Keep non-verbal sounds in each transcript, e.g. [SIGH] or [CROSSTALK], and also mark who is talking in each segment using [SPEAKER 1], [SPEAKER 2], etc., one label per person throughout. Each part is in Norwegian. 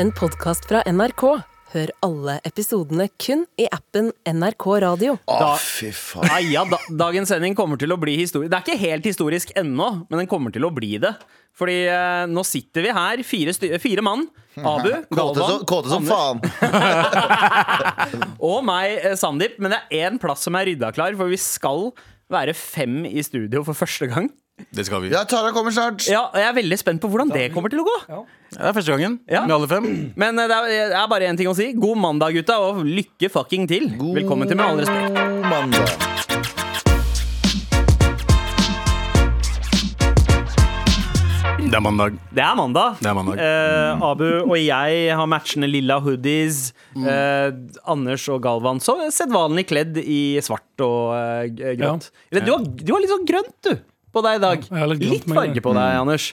[SPEAKER 1] en podkast fra NRK. Hør alle episodene kun i appen NRK Radio.
[SPEAKER 2] Å,
[SPEAKER 3] Da-
[SPEAKER 2] fy faen.
[SPEAKER 3] Nei, ja, da, dagens sending kommer til å bli historisk. Det er ikke helt historisk ennå, men den kommer til å bli det. Fordi eh, nå sitter vi her, fire, sty eh, fire mann. Abu,
[SPEAKER 2] [LAUGHS] Kåte som,
[SPEAKER 3] Galvan
[SPEAKER 2] kåte som faen.
[SPEAKER 3] og meg, eh, Sandeep. Men det er én plass som er rydda klar, for vi skal være fem i studio for første gang.
[SPEAKER 4] Det skal vi.
[SPEAKER 2] Ja, Tara kommer snart.
[SPEAKER 3] Ja, og Jeg er veldig spent på hvordan det kommer til å gå.
[SPEAKER 4] Det er første gangen
[SPEAKER 3] Ja.
[SPEAKER 4] med alle fem.
[SPEAKER 3] Men eh, det er- det er bare én ting å si. God mandag, gutta, og lykke fucking til. Velkommen til Med all respekt.
[SPEAKER 2] God mandag.
[SPEAKER 4] Det er mandag.
[SPEAKER 3] Det er mandag.
[SPEAKER 4] Det er mandag.
[SPEAKER 3] Eh, Abu og jeg har matchende lilla hoodies.
[SPEAKER 4] Mm.
[SPEAKER 3] Eh, Anders og Galvan så sedvanlig kledd i svart og eh, g- grått. Eller du har, du har litt sånn grønt, du. På deg i dag.
[SPEAKER 5] jeg har litt grønt med en
[SPEAKER 3] farge
[SPEAKER 5] gang.
[SPEAKER 3] på deg,
[SPEAKER 4] Mm.
[SPEAKER 3] Anders.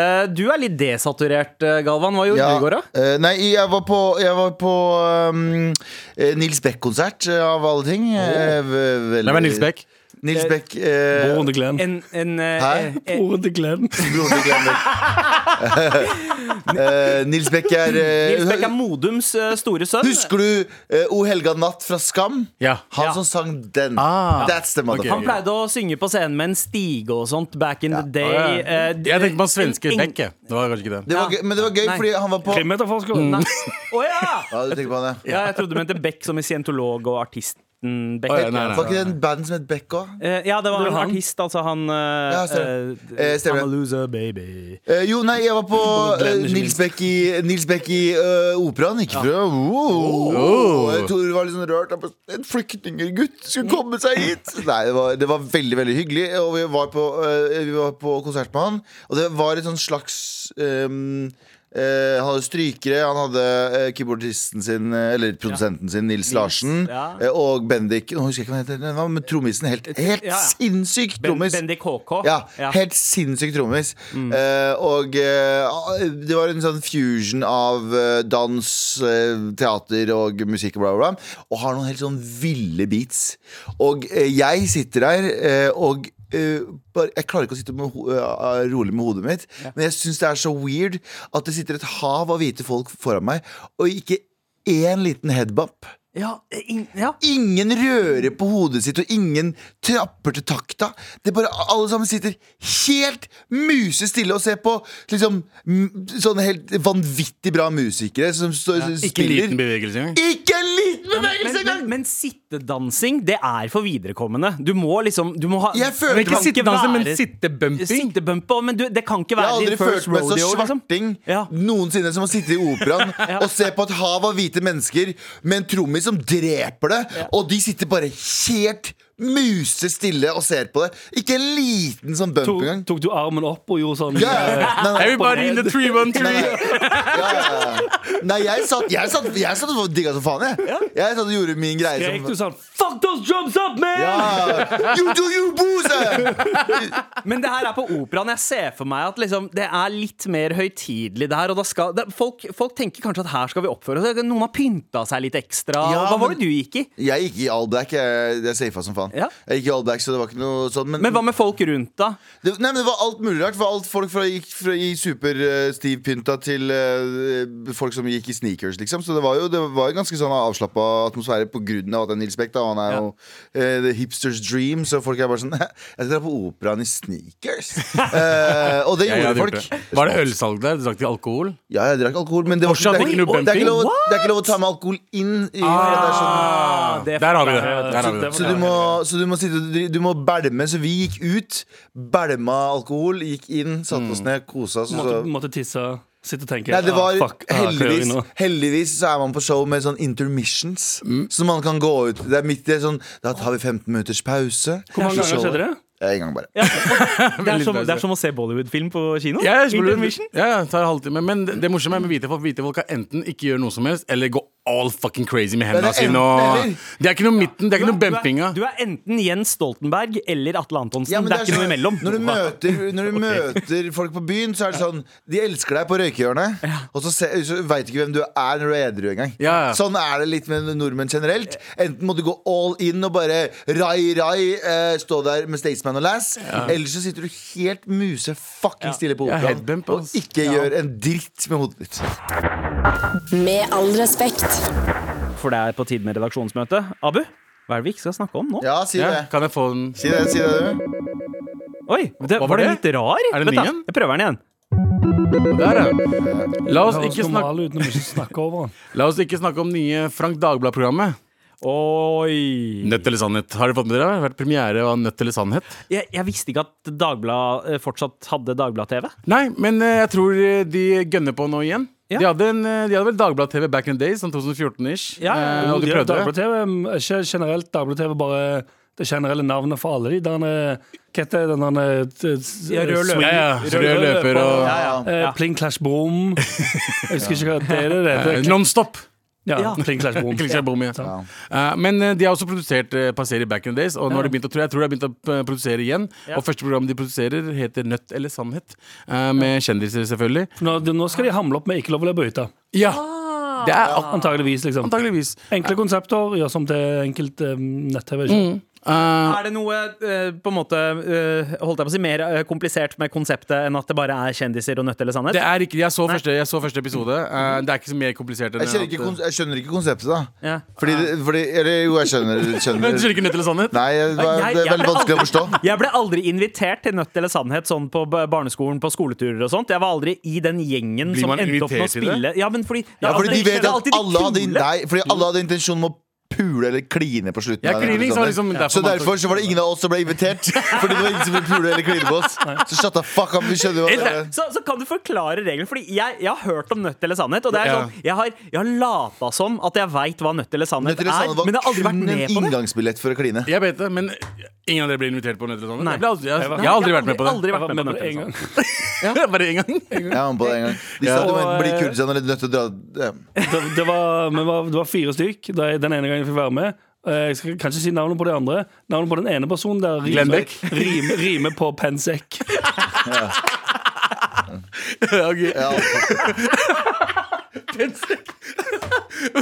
[SPEAKER 3] Eh, du er litt desaturert, eh, Galvan. Hva gjorde
[SPEAKER 2] Mm. Ja,
[SPEAKER 3] du i går, da?
[SPEAKER 2] eh, nei, jeg var på, jeg var på um, eh, Nils Beck-konsert, eh, av alle ting. Eh, ve- veldig-
[SPEAKER 4] Hvem er Nils Bech?
[SPEAKER 2] Nils Beck, eh,
[SPEAKER 5] Broren til Glenn.
[SPEAKER 3] En, en, eh,
[SPEAKER 2] Hæ?
[SPEAKER 5] [LAUGHS]
[SPEAKER 3] eh,
[SPEAKER 5] Broren til Glenn.
[SPEAKER 2] [LAUGHS] broren til
[SPEAKER 3] [LAUGHS]
[SPEAKER 2] Glenn Beck. Eh, Nils Beck er, eh,
[SPEAKER 3] Nils Beck er Modums eh, store sønn.
[SPEAKER 2] Husker du eh, O helga natt fra Skam?
[SPEAKER 4] Ja.
[SPEAKER 2] Han
[SPEAKER 3] Ja.
[SPEAKER 2] som sang den.
[SPEAKER 4] Ah.
[SPEAKER 2] That's the mother.
[SPEAKER 3] Han pleide å synge på scenen med en stige og sånt back in the day.
[SPEAKER 4] Ja, ja.
[SPEAKER 3] Eh,
[SPEAKER 4] Jeg tenkte på han svenske
[SPEAKER 3] ing-
[SPEAKER 4] Beck. jeg. Det var kanskje ikke det.
[SPEAKER 2] Det var
[SPEAKER 3] Ja.
[SPEAKER 2] gøy, men det var gøy,
[SPEAKER 3] Nei.
[SPEAKER 2] fordi han var på
[SPEAKER 5] Krimmetterforsker.
[SPEAKER 3] Å
[SPEAKER 4] [LAUGHS]
[SPEAKER 3] ja!
[SPEAKER 2] Ja, du tenker på han, ja.
[SPEAKER 3] Ja, jeg trodde du mente Beck som i scientolog og artisten Beck.
[SPEAKER 4] Å, ja, nei, nei.
[SPEAKER 2] Var ikke det en band som het Beck òg?
[SPEAKER 3] Eh, ja, det var
[SPEAKER 5] Det
[SPEAKER 3] en
[SPEAKER 5] var han.
[SPEAKER 3] artist, altså han eh,
[SPEAKER 2] Ja, stemmer.
[SPEAKER 3] eh,
[SPEAKER 2] Eh, stemmer.
[SPEAKER 3] I'm a loser, baby.
[SPEAKER 2] Eh, jo, nei, jeg var på eh,
[SPEAKER 4] Glenn, ikke
[SPEAKER 2] Nils
[SPEAKER 4] minst.
[SPEAKER 2] Beck i, Nils Beck i eh, operaen. Ikke for å oh,
[SPEAKER 4] Oh.
[SPEAKER 2] Jeg tror det var litt sånn rørt. at En flyktninggutt
[SPEAKER 3] Mm.
[SPEAKER 2] skulle komme seg hit! Nei, det var, det var veldig veldig hyggelig, og vi var på, eh, vi var på konsert med han. Og det var et sånn slags ehm, eh, han hadde strykere, han hadde eh, keyboardisten sin, eh, eller produsenten sin, Nils Larsen.
[SPEAKER 3] ja.
[SPEAKER 2] eh, Og Bendik. Nå husker jeg ikke hva han heter, men han med trommisen. Helt, helt
[SPEAKER 3] Ja, ja.
[SPEAKER 2] sinnssykt
[SPEAKER 3] Ben,
[SPEAKER 2] trommis.
[SPEAKER 3] Bendik HK.
[SPEAKER 2] Ja, helt sinnssykt trommis. Eh, og eh, det var en sånn fusion av eh, dans, eh, teater og musikk og bla, bla, bla. Og har noen helt sånn ville beats. Og eh, jeg sitter der, eh, og eh, bare, jeg klarer ikke å sitte med, ho- eh, rolig med hodet mitt, men jeg syns det er så weird at det sitter et hav av hvite folk foran meg, og ikke én liten headbump.
[SPEAKER 3] Ja, eh, ing- ja.
[SPEAKER 2] Ingen rører på hodet sitt, og ingen trapper til takta. Det er bare Alle sammen sitter helt musestille og ser på liksom m- sånne helt vanvittig bra musikere som står som
[SPEAKER 4] Ikke en
[SPEAKER 2] spiller.
[SPEAKER 4] liten bevegelse engang.
[SPEAKER 2] Ikke en liten
[SPEAKER 3] Men,
[SPEAKER 2] bevegelse
[SPEAKER 3] men,
[SPEAKER 2] engang!
[SPEAKER 3] men sittedansing, det er for viderekommende. Du må liksom du må ha,
[SPEAKER 2] Jeg føler-
[SPEAKER 3] det
[SPEAKER 2] Men
[SPEAKER 3] kan
[SPEAKER 4] Ikke sittedanse, men
[SPEAKER 3] være-
[SPEAKER 4] sittebumping.
[SPEAKER 3] Sittebump også, men du, det kan ikke
[SPEAKER 2] Jeg har
[SPEAKER 3] være
[SPEAKER 2] aldri
[SPEAKER 3] din first
[SPEAKER 2] følt meg så
[SPEAKER 3] rodeo, liksom.
[SPEAKER 2] svarting
[SPEAKER 3] Ja.
[SPEAKER 2] noensinne som å sitte i
[SPEAKER 3] [LAUGHS]
[SPEAKER 2] operaen og se på et hav av hvite mennesker med en trommis som dreper det, og de sitter bare helt musestille og ser på det. Ikke en liten sånn bump
[SPEAKER 5] Tok,
[SPEAKER 2] engang.
[SPEAKER 5] tok du armen opp og gjorde sånn?
[SPEAKER 2] Ja, ja, ja. Nei, nei.
[SPEAKER 4] Everybody in the tree one
[SPEAKER 2] Nei,
[SPEAKER 4] tree.
[SPEAKER 2] nei. Ja, ja, ja. nei, jeg satt Jeg satt, jeg satt og digga som faen, jeg. Jeg satt og gjorde min greie
[SPEAKER 5] Skrek du
[SPEAKER 2] som
[SPEAKER 5] sånn Fuck those drums up, man!
[SPEAKER 2] ja. You do you, Booze!
[SPEAKER 3] Men det her er på operaen. Jeg ser for meg at liksom, det er litt mer høytidelig der. Og da skal, det, folk, folk tenker kanskje at her skal vi oppføre oss. Noen har pynta seg litt ekstra.
[SPEAKER 2] Ja,
[SPEAKER 3] hva var
[SPEAKER 2] men-
[SPEAKER 3] det du gikk i?
[SPEAKER 2] Jeg gikk i all black. Jeg, jeg safa som faen.
[SPEAKER 3] Ja.
[SPEAKER 2] Jeg gikk i all black, så det var ikke noe sånn. Men,
[SPEAKER 3] Men hva med folk rundt, da?
[SPEAKER 2] det, nei, men det var alt mulig rart. Det var alt folk fra, gikk fra i superstiv pynta til eh, folk som gikk i sneakers, liksom. Så det var jo det var jo ganske sånn avslappa atmosfære på grunn av at det er Nils Beck, da. Og han er jo eh, the hipsters dream, så folk er bare sånn Jeg skal dra på operaen i sneakers. Eh, og det
[SPEAKER 4] Ja, jeg
[SPEAKER 2] gjorde
[SPEAKER 4] hadde gjort
[SPEAKER 2] folk. Ah,
[SPEAKER 4] det. Var det ølsalg der? Du drakk ikke alkohol?
[SPEAKER 2] Ja, jeg drakk alkohol, men det, var,
[SPEAKER 4] Fortsatt
[SPEAKER 2] det, er-
[SPEAKER 4] ikke noe
[SPEAKER 2] Oi, det, er ikke lov,
[SPEAKER 4] bumping?
[SPEAKER 2] det er ikke lov å ta med alkohol inn. I, det er sånn,
[SPEAKER 3] det,
[SPEAKER 4] Der har vi Ah, det. Der har vi det.
[SPEAKER 2] så du må, så du må, sitte, og dri- du må bælme. Så vi gikk ut, bælma alkohol, gikk inn, satte
[SPEAKER 5] Mm.
[SPEAKER 2] oss ned, kosa oss. og
[SPEAKER 5] Måtte,
[SPEAKER 2] så-
[SPEAKER 5] måtte tisse. Sitte og tenke
[SPEAKER 2] Nei, det var
[SPEAKER 5] ah, fuck, ah, hva gjør jeg
[SPEAKER 2] [LAUGHS] heldigvis,
[SPEAKER 5] nå?
[SPEAKER 2] heldigvis så er man på show med sånn intermissions.
[SPEAKER 5] Mm.
[SPEAKER 2] Så man kan gå ut. Det er midt i det sånn Da tar vi 15 minutters pause.
[SPEAKER 5] Hvor mange ganger skjedde det?
[SPEAKER 2] En gang bare.
[SPEAKER 3] det, er som, det er som å se Bollywood-film på kino.
[SPEAKER 4] Ja, jeg skulle-
[SPEAKER 3] Intermission.
[SPEAKER 4] ja, ja, tar halvtime. Men det, det morsomme er med hvite folk. Hvite folk kan enten ikke gjøre noe som helst, eller gå all fucking crazy med
[SPEAKER 2] det er
[SPEAKER 4] hendene sine.
[SPEAKER 2] enten
[SPEAKER 4] og-
[SPEAKER 2] eller.
[SPEAKER 4] Det er ikke noe midten, det er ikke noe bempinga.
[SPEAKER 3] Du er enten Jens Stoltenberg eller Atle Antonsen.
[SPEAKER 2] Ja, men
[SPEAKER 3] det, er ikke
[SPEAKER 2] sånn-
[SPEAKER 3] noe imellom.
[SPEAKER 2] Når du, møter, når du møter folk på byen, så er det sånn De elsker deg på røykehjørnet, og så, se- så veit du ikke hvem du er når du er edru engang.
[SPEAKER 4] Ja, ja.
[SPEAKER 2] Sånn er det litt med nordmenn generelt. Enten må du gå all in og bare rai, rai, eh, stå der med Staysman og Lass, eller så sitter du helt muse fucking stille på
[SPEAKER 4] Ja,
[SPEAKER 2] operaen
[SPEAKER 4] headbump,
[SPEAKER 2] og
[SPEAKER 4] ass.
[SPEAKER 2] ikke gjør en dritt med hodet ditt.
[SPEAKER 1] Med all respekt.
[SPEAKER 3] For det er på tide med redaksjonsmøte. Abu, hva er det vi ikke skal snakke om nå?
[SPEAKER 2] Ja, si
[SPEAKER 4] Ja,
[SPEAKER 2] det.
[SPEAKER 4] kan jeg få den?
[SPEAKER 2] Si det, si det, du.
[SPEAKER 3] Oi, det,
[SPEAKER 4] Hva var
[SPEAKER 3] var det
[SPEAKER 4] det?
[SPEAKER 3] litt rar?
[SPEAKER 4] Er det
[SPEAKER 3] Vent da,
[SPEAKER 4] ny igjen?
[SPEAKER 3] Jeg prøver den igjen.
[SPEAKER 4] Der, ja. La oss
[SPEAKER 5] La oss
[SPEAKER 4] ikke snakke,
[SPEAKER 5] normale uten å ikke snakke over den.
[SPEAKER 4] [LAUGHS] la oss ikke snakke om nye Frank Dagblad-programmet.
[SPEAKER 3] Oi.
[SPEAKER 4] Nødt eller sannhet. Har dere fått med dere? Det har vært premiere av Nødt eller sannhet.
[SPEAKER 3] Jeg, jeg visste ikke at Dagbladet eh, fortsatt hadde Dagblad-TV.
[SPEAKER 4] Nei, men eh, jeg tror eh, de gønner på nå igjen.
[SPEAKER 3] Ja.
[SPEAKER 4] De, hadde en, eh, de hadde vel Dagblad-TV back in the days, sånn 2014-ish.
[SPEAKER 3] Ja, ja, ja.
[SPEAKER 4] eh, og de prøvde det.
[SPEAKER 5] Dagblad-TV mm, er ikke generelt Dagblad-TV, bare det generelle navnet for alle de der eh, Hva heter den der eh, t- s-
[SPEAKER 3] Ja, rød løper.
[SPEAKER 5] swing-
[SPEAKER 4] Ja, ja.
[SPEAKER 3] Rød
[SPEAKER 4] Rød løper og
[SPEAKER 3] Ja, ja.
[SPEAKER 5] eh,
[SPEAKER 3] ja.
[SPEAKER 5] Pling Clash Boom. Jeg husker ikke hva det er det
[SPEAKER 4] eh,
[SPEAKER 5] heter.
[SPEAKER 4] Nonstop! [LAUGHS]
[SPEAKER 5] Ja, Pling Clash Boom.
[SPEAKER 4] Klikk seg bom, ja.
[SPEAKER 2] Ja.
[SPEAKER 4] Eh, men eh, de har også produsert eh, Passer i back in the days, og nå har de begynt å, tror jeg, jeg tror de har begynt å eh, produsere igjen.
[SPEAKER 3] Ja.
[SPEAKER 4] Og første program de produserer, heter Nødt eller sannhet, eh, med kjendiser, selvfølgelig.
[SPEAKER 5] Nå, nå skal de hamle opp med ikke lov å le på hytta.
[SPEAKER 4] Ja! Det er ak-
[SPEAKER 5] Antageligvis, liksom.
[SPEAKER 4] antageligvis.
[SPEAKER 5] Enkle konsepter, gjør som til enkelt eh, nett-TV. ikke?
[SPEAKER 4] Mm. Eh,
[SPEAKER 3] Er det noe eh, på en måte eh, holdt jeg på å si, mer eh, komplisert med konseptet enn at det bare er kjendiser og nødt eller sannhet?
[SPEAKER 4] det er ikke, jeg, så første, jeg så første episode. eh, det er ikke så mer komplisert enn
[SPEAKER 2] Jeg skjønner ikke,
[SPEAKER 4] at-
[SPEAKER 2] kon- jeg skjønner ikke konseptet, da.
[SPEAKER 3] Ja.
[SPEAKER 2] Fordi, fordi Eller jo, jeg skjønner,
[SPEAKER 4] Men
[SPEAKER 2] skjønner.
[SPEAKER 4] du skjønner ikke Nødt eller sannhet?
[SPEAKER 2] Nei, det er det er veldig vanskelig å forstå.
[SPEAKER 3] Jeg ble aldri invitert til Nødt eller sannhet sånn på b- barneskolen på skoleturer og sånt. Jeg var aldri i den gjengen
[SPEAKER 4] Blir
[SPEAKER 3] som
[SPEAKER 4] man
[SPEAKER 3] endte opp med å
[SPEAKER 4] invitert til det?
[SPEAKER 3] spille. Ja, men fordi, det er
[SPEAKER 2] Ja, fordi de
[SPEAKER 3] alltid-
[SPEAKER 2] vet
[SPEAKER 3] det er
[SPEAKER 2] at
[SPEAKER 3] alltid de
[SPEAKER 2] alle hadde,
[SPEAKER 3] kule.
[SPEAKER 2] nei, fordi alle hadde intensjon om å pule eller kline på slutten.
[SPEAKER 4] Ja,
[SPEAKER 2] av den
[SPEAKER 4] klining, så var det
[SPEAKER 2] episoden.
[SPEAKER 4] liksom- derfor
[SPEAKER 2] så
[SPEAKER 4] man-
[SPEAKER 2] derfor så var det ingen av oss som ble
[SPEAKER 3] [LAUGHS]
[SPEAKER 2] invitert. Fordi det var ingen som ville pule eller kline på oss. Så shut the fuck up. Vi skjønner jo at det
[SPEAKER 3] Så, så kan du forklare regelen, Fordi jeg, jeg har hørt om nødt eller sannhet. Og det er
[SPEAKER 4] Ja.
[SPEAKER 3] sånn, jeg har, jeg har lata som at jeg veit hva nødt eller sannhet
[SPEAKER 2] Nødt til å
[SPEAKER 3] er,
[SPEAKER 2] sanne
[SPEAKER 3] men jeg har aldri
[SPEAKER 2] var
[SPEAKER 3] vært
[SPEAKER 2] kun en
[SPEAKER 3] med på det.
[SPEAKER 2] inngangsbillett for å kline.
[SPEAKER 4] eh, Jeg vet det, men ingen av dere ble invitert på Nødt eller sannhet?
[SPEAKER 3] Nei.
[SPEAKER 4] Jeg, ble aldri, jeg,
[SPEAKER 5] var-
[SPEAKER 4] jeg har aldri vært med på det.
[SPEAKER 3] Aldri
[SPEAKER 5] Jeg
[SPEAKER 3] vært
[SPEAKER 5] var
[SPEAKER 3] med på
[SPEAKER 5] med på
[SPEAKER 3] nødt
[SPEAKER 5] det
[SPEAKER 3] eller
[SPEAKER 5] en
[SPEAKER 3] sannhet.
[SPEAKER 5] gang.
[SPEAKER 4] [LAUGHS] Bare én gang?
[SPEAKER 2] Jeg var med på det en gang. De sa
[SPEAKER 5] Ja.
[SPEAKER 2] du mente bli
[SPEAKER 5] Og, eh,
[SPEAKER 2] kurdisk eller nødt til å dra ja.
[SPEAKER 5] Det, det, var, vi var, det var fire stykk da jeg- den ene gangen jeg fikk være med. Eh, Jeg skal kanskje si navnet på de andre. Navnet på den ene personen der rimer,
[SPEAKER 4] Glenn Beck.
[SPEAKER 5] rimer, rimer på pensekk.
[SPEAKER 4] Ok.
[SPEAKER 3] [LAUGHS]
[SPEAKER 2] Ja, altså,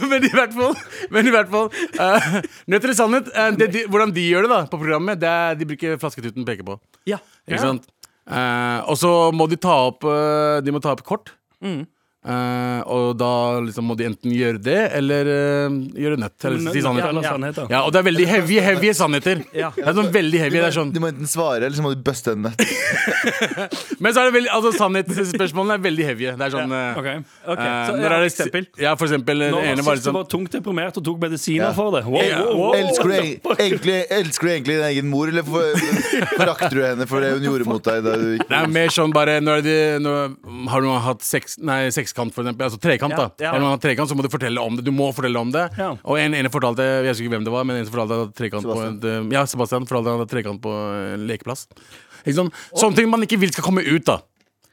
[SPEAKER 4] [LAUGHS] men i hvert fall, men i hvert fall eh, Nødt eller sannhet? eh, det, de, hvordan de gjør det da på programmet, det er de bruker flasketuten peker på.
[SPEAKER 3] Ja.
[SPEAKER 4] Ikke sant? Eh, og så må de ta opp eh, De må ta opp kort. Eh, og da liksom må de enten gjøre det eller eh, gjøre nødt. Eller si
[SPEAKER 5] Ja,
[SPEAKER 4] sannhet.
[SPEAKER 5] eller sannhet, da.
[SPEAKER 4] Ja, og det er veldig heavy, heavy sannheter.
[SPEAKER 3] Ja.
[SPEAKER 4] Det er sånn veldig heavy, det er sånn
[SPEAKER 2] Du må enten svare, eller så må du buste henne.
[SPEAKER 4] Men så er det veldig, altså sannhetsspørsmålene er veldig heavy. Det er sånn eh,
[SPEAKER 5] Okay.
[SPEAKER 3] Ok,
[SPEAKER 4] eh,
[SPEAKER 3] så,
[SPEAKER 4] når
[SPEAKER 3] ja,
[SPEAKER 4] er det-
[SPEAKER 3] eksempel.
[SPEAKER 4] Ja, for eksempel. [LAUGHS] Den
[SPEAKER 5] Nå
[SPEAKER 4] ene
[SPEAKER 5] var
[SPEAKER 4] var
[SPEAKER 5] sist du
[SPEAKER 4] liksom
[SPEAKER 5] var tungt deprimert og tok medisiner
[SPEAKER 2] Ja.
[SPEAKER 5] for det. Wow,
[SPEAKER 4] Ja.
[SPEAKER 5] wow, wow.
[SPEAKER 2] Elsker du, eg- egentlig, elsker du egentlig din egen mor, eller for- forakter du henne for det hun gjorde mot deg? Da du gikk?
[SPEAKER 4] Det er mer sånn bare når de, når, Har noen hatt seks, nei, sekskant, for eksempel? Altså trekant, da.
[SPEAKER 3] Ja, ja.
[SPEAKER 4] Har noen hatt trekant, så må du fortelle om det. Du må fortelle om det.
[SPEAKER 5] Ja.
[SPEAKER 4] Og en ene fortalte Jeg husker ikke hvem det var, men en som fortalte at trekant på et, Ja, Sebastian fortalte han hadde trekant på en lekeplass. Ikke sånn, Sånne ting man ikke vil skal komme ut, da.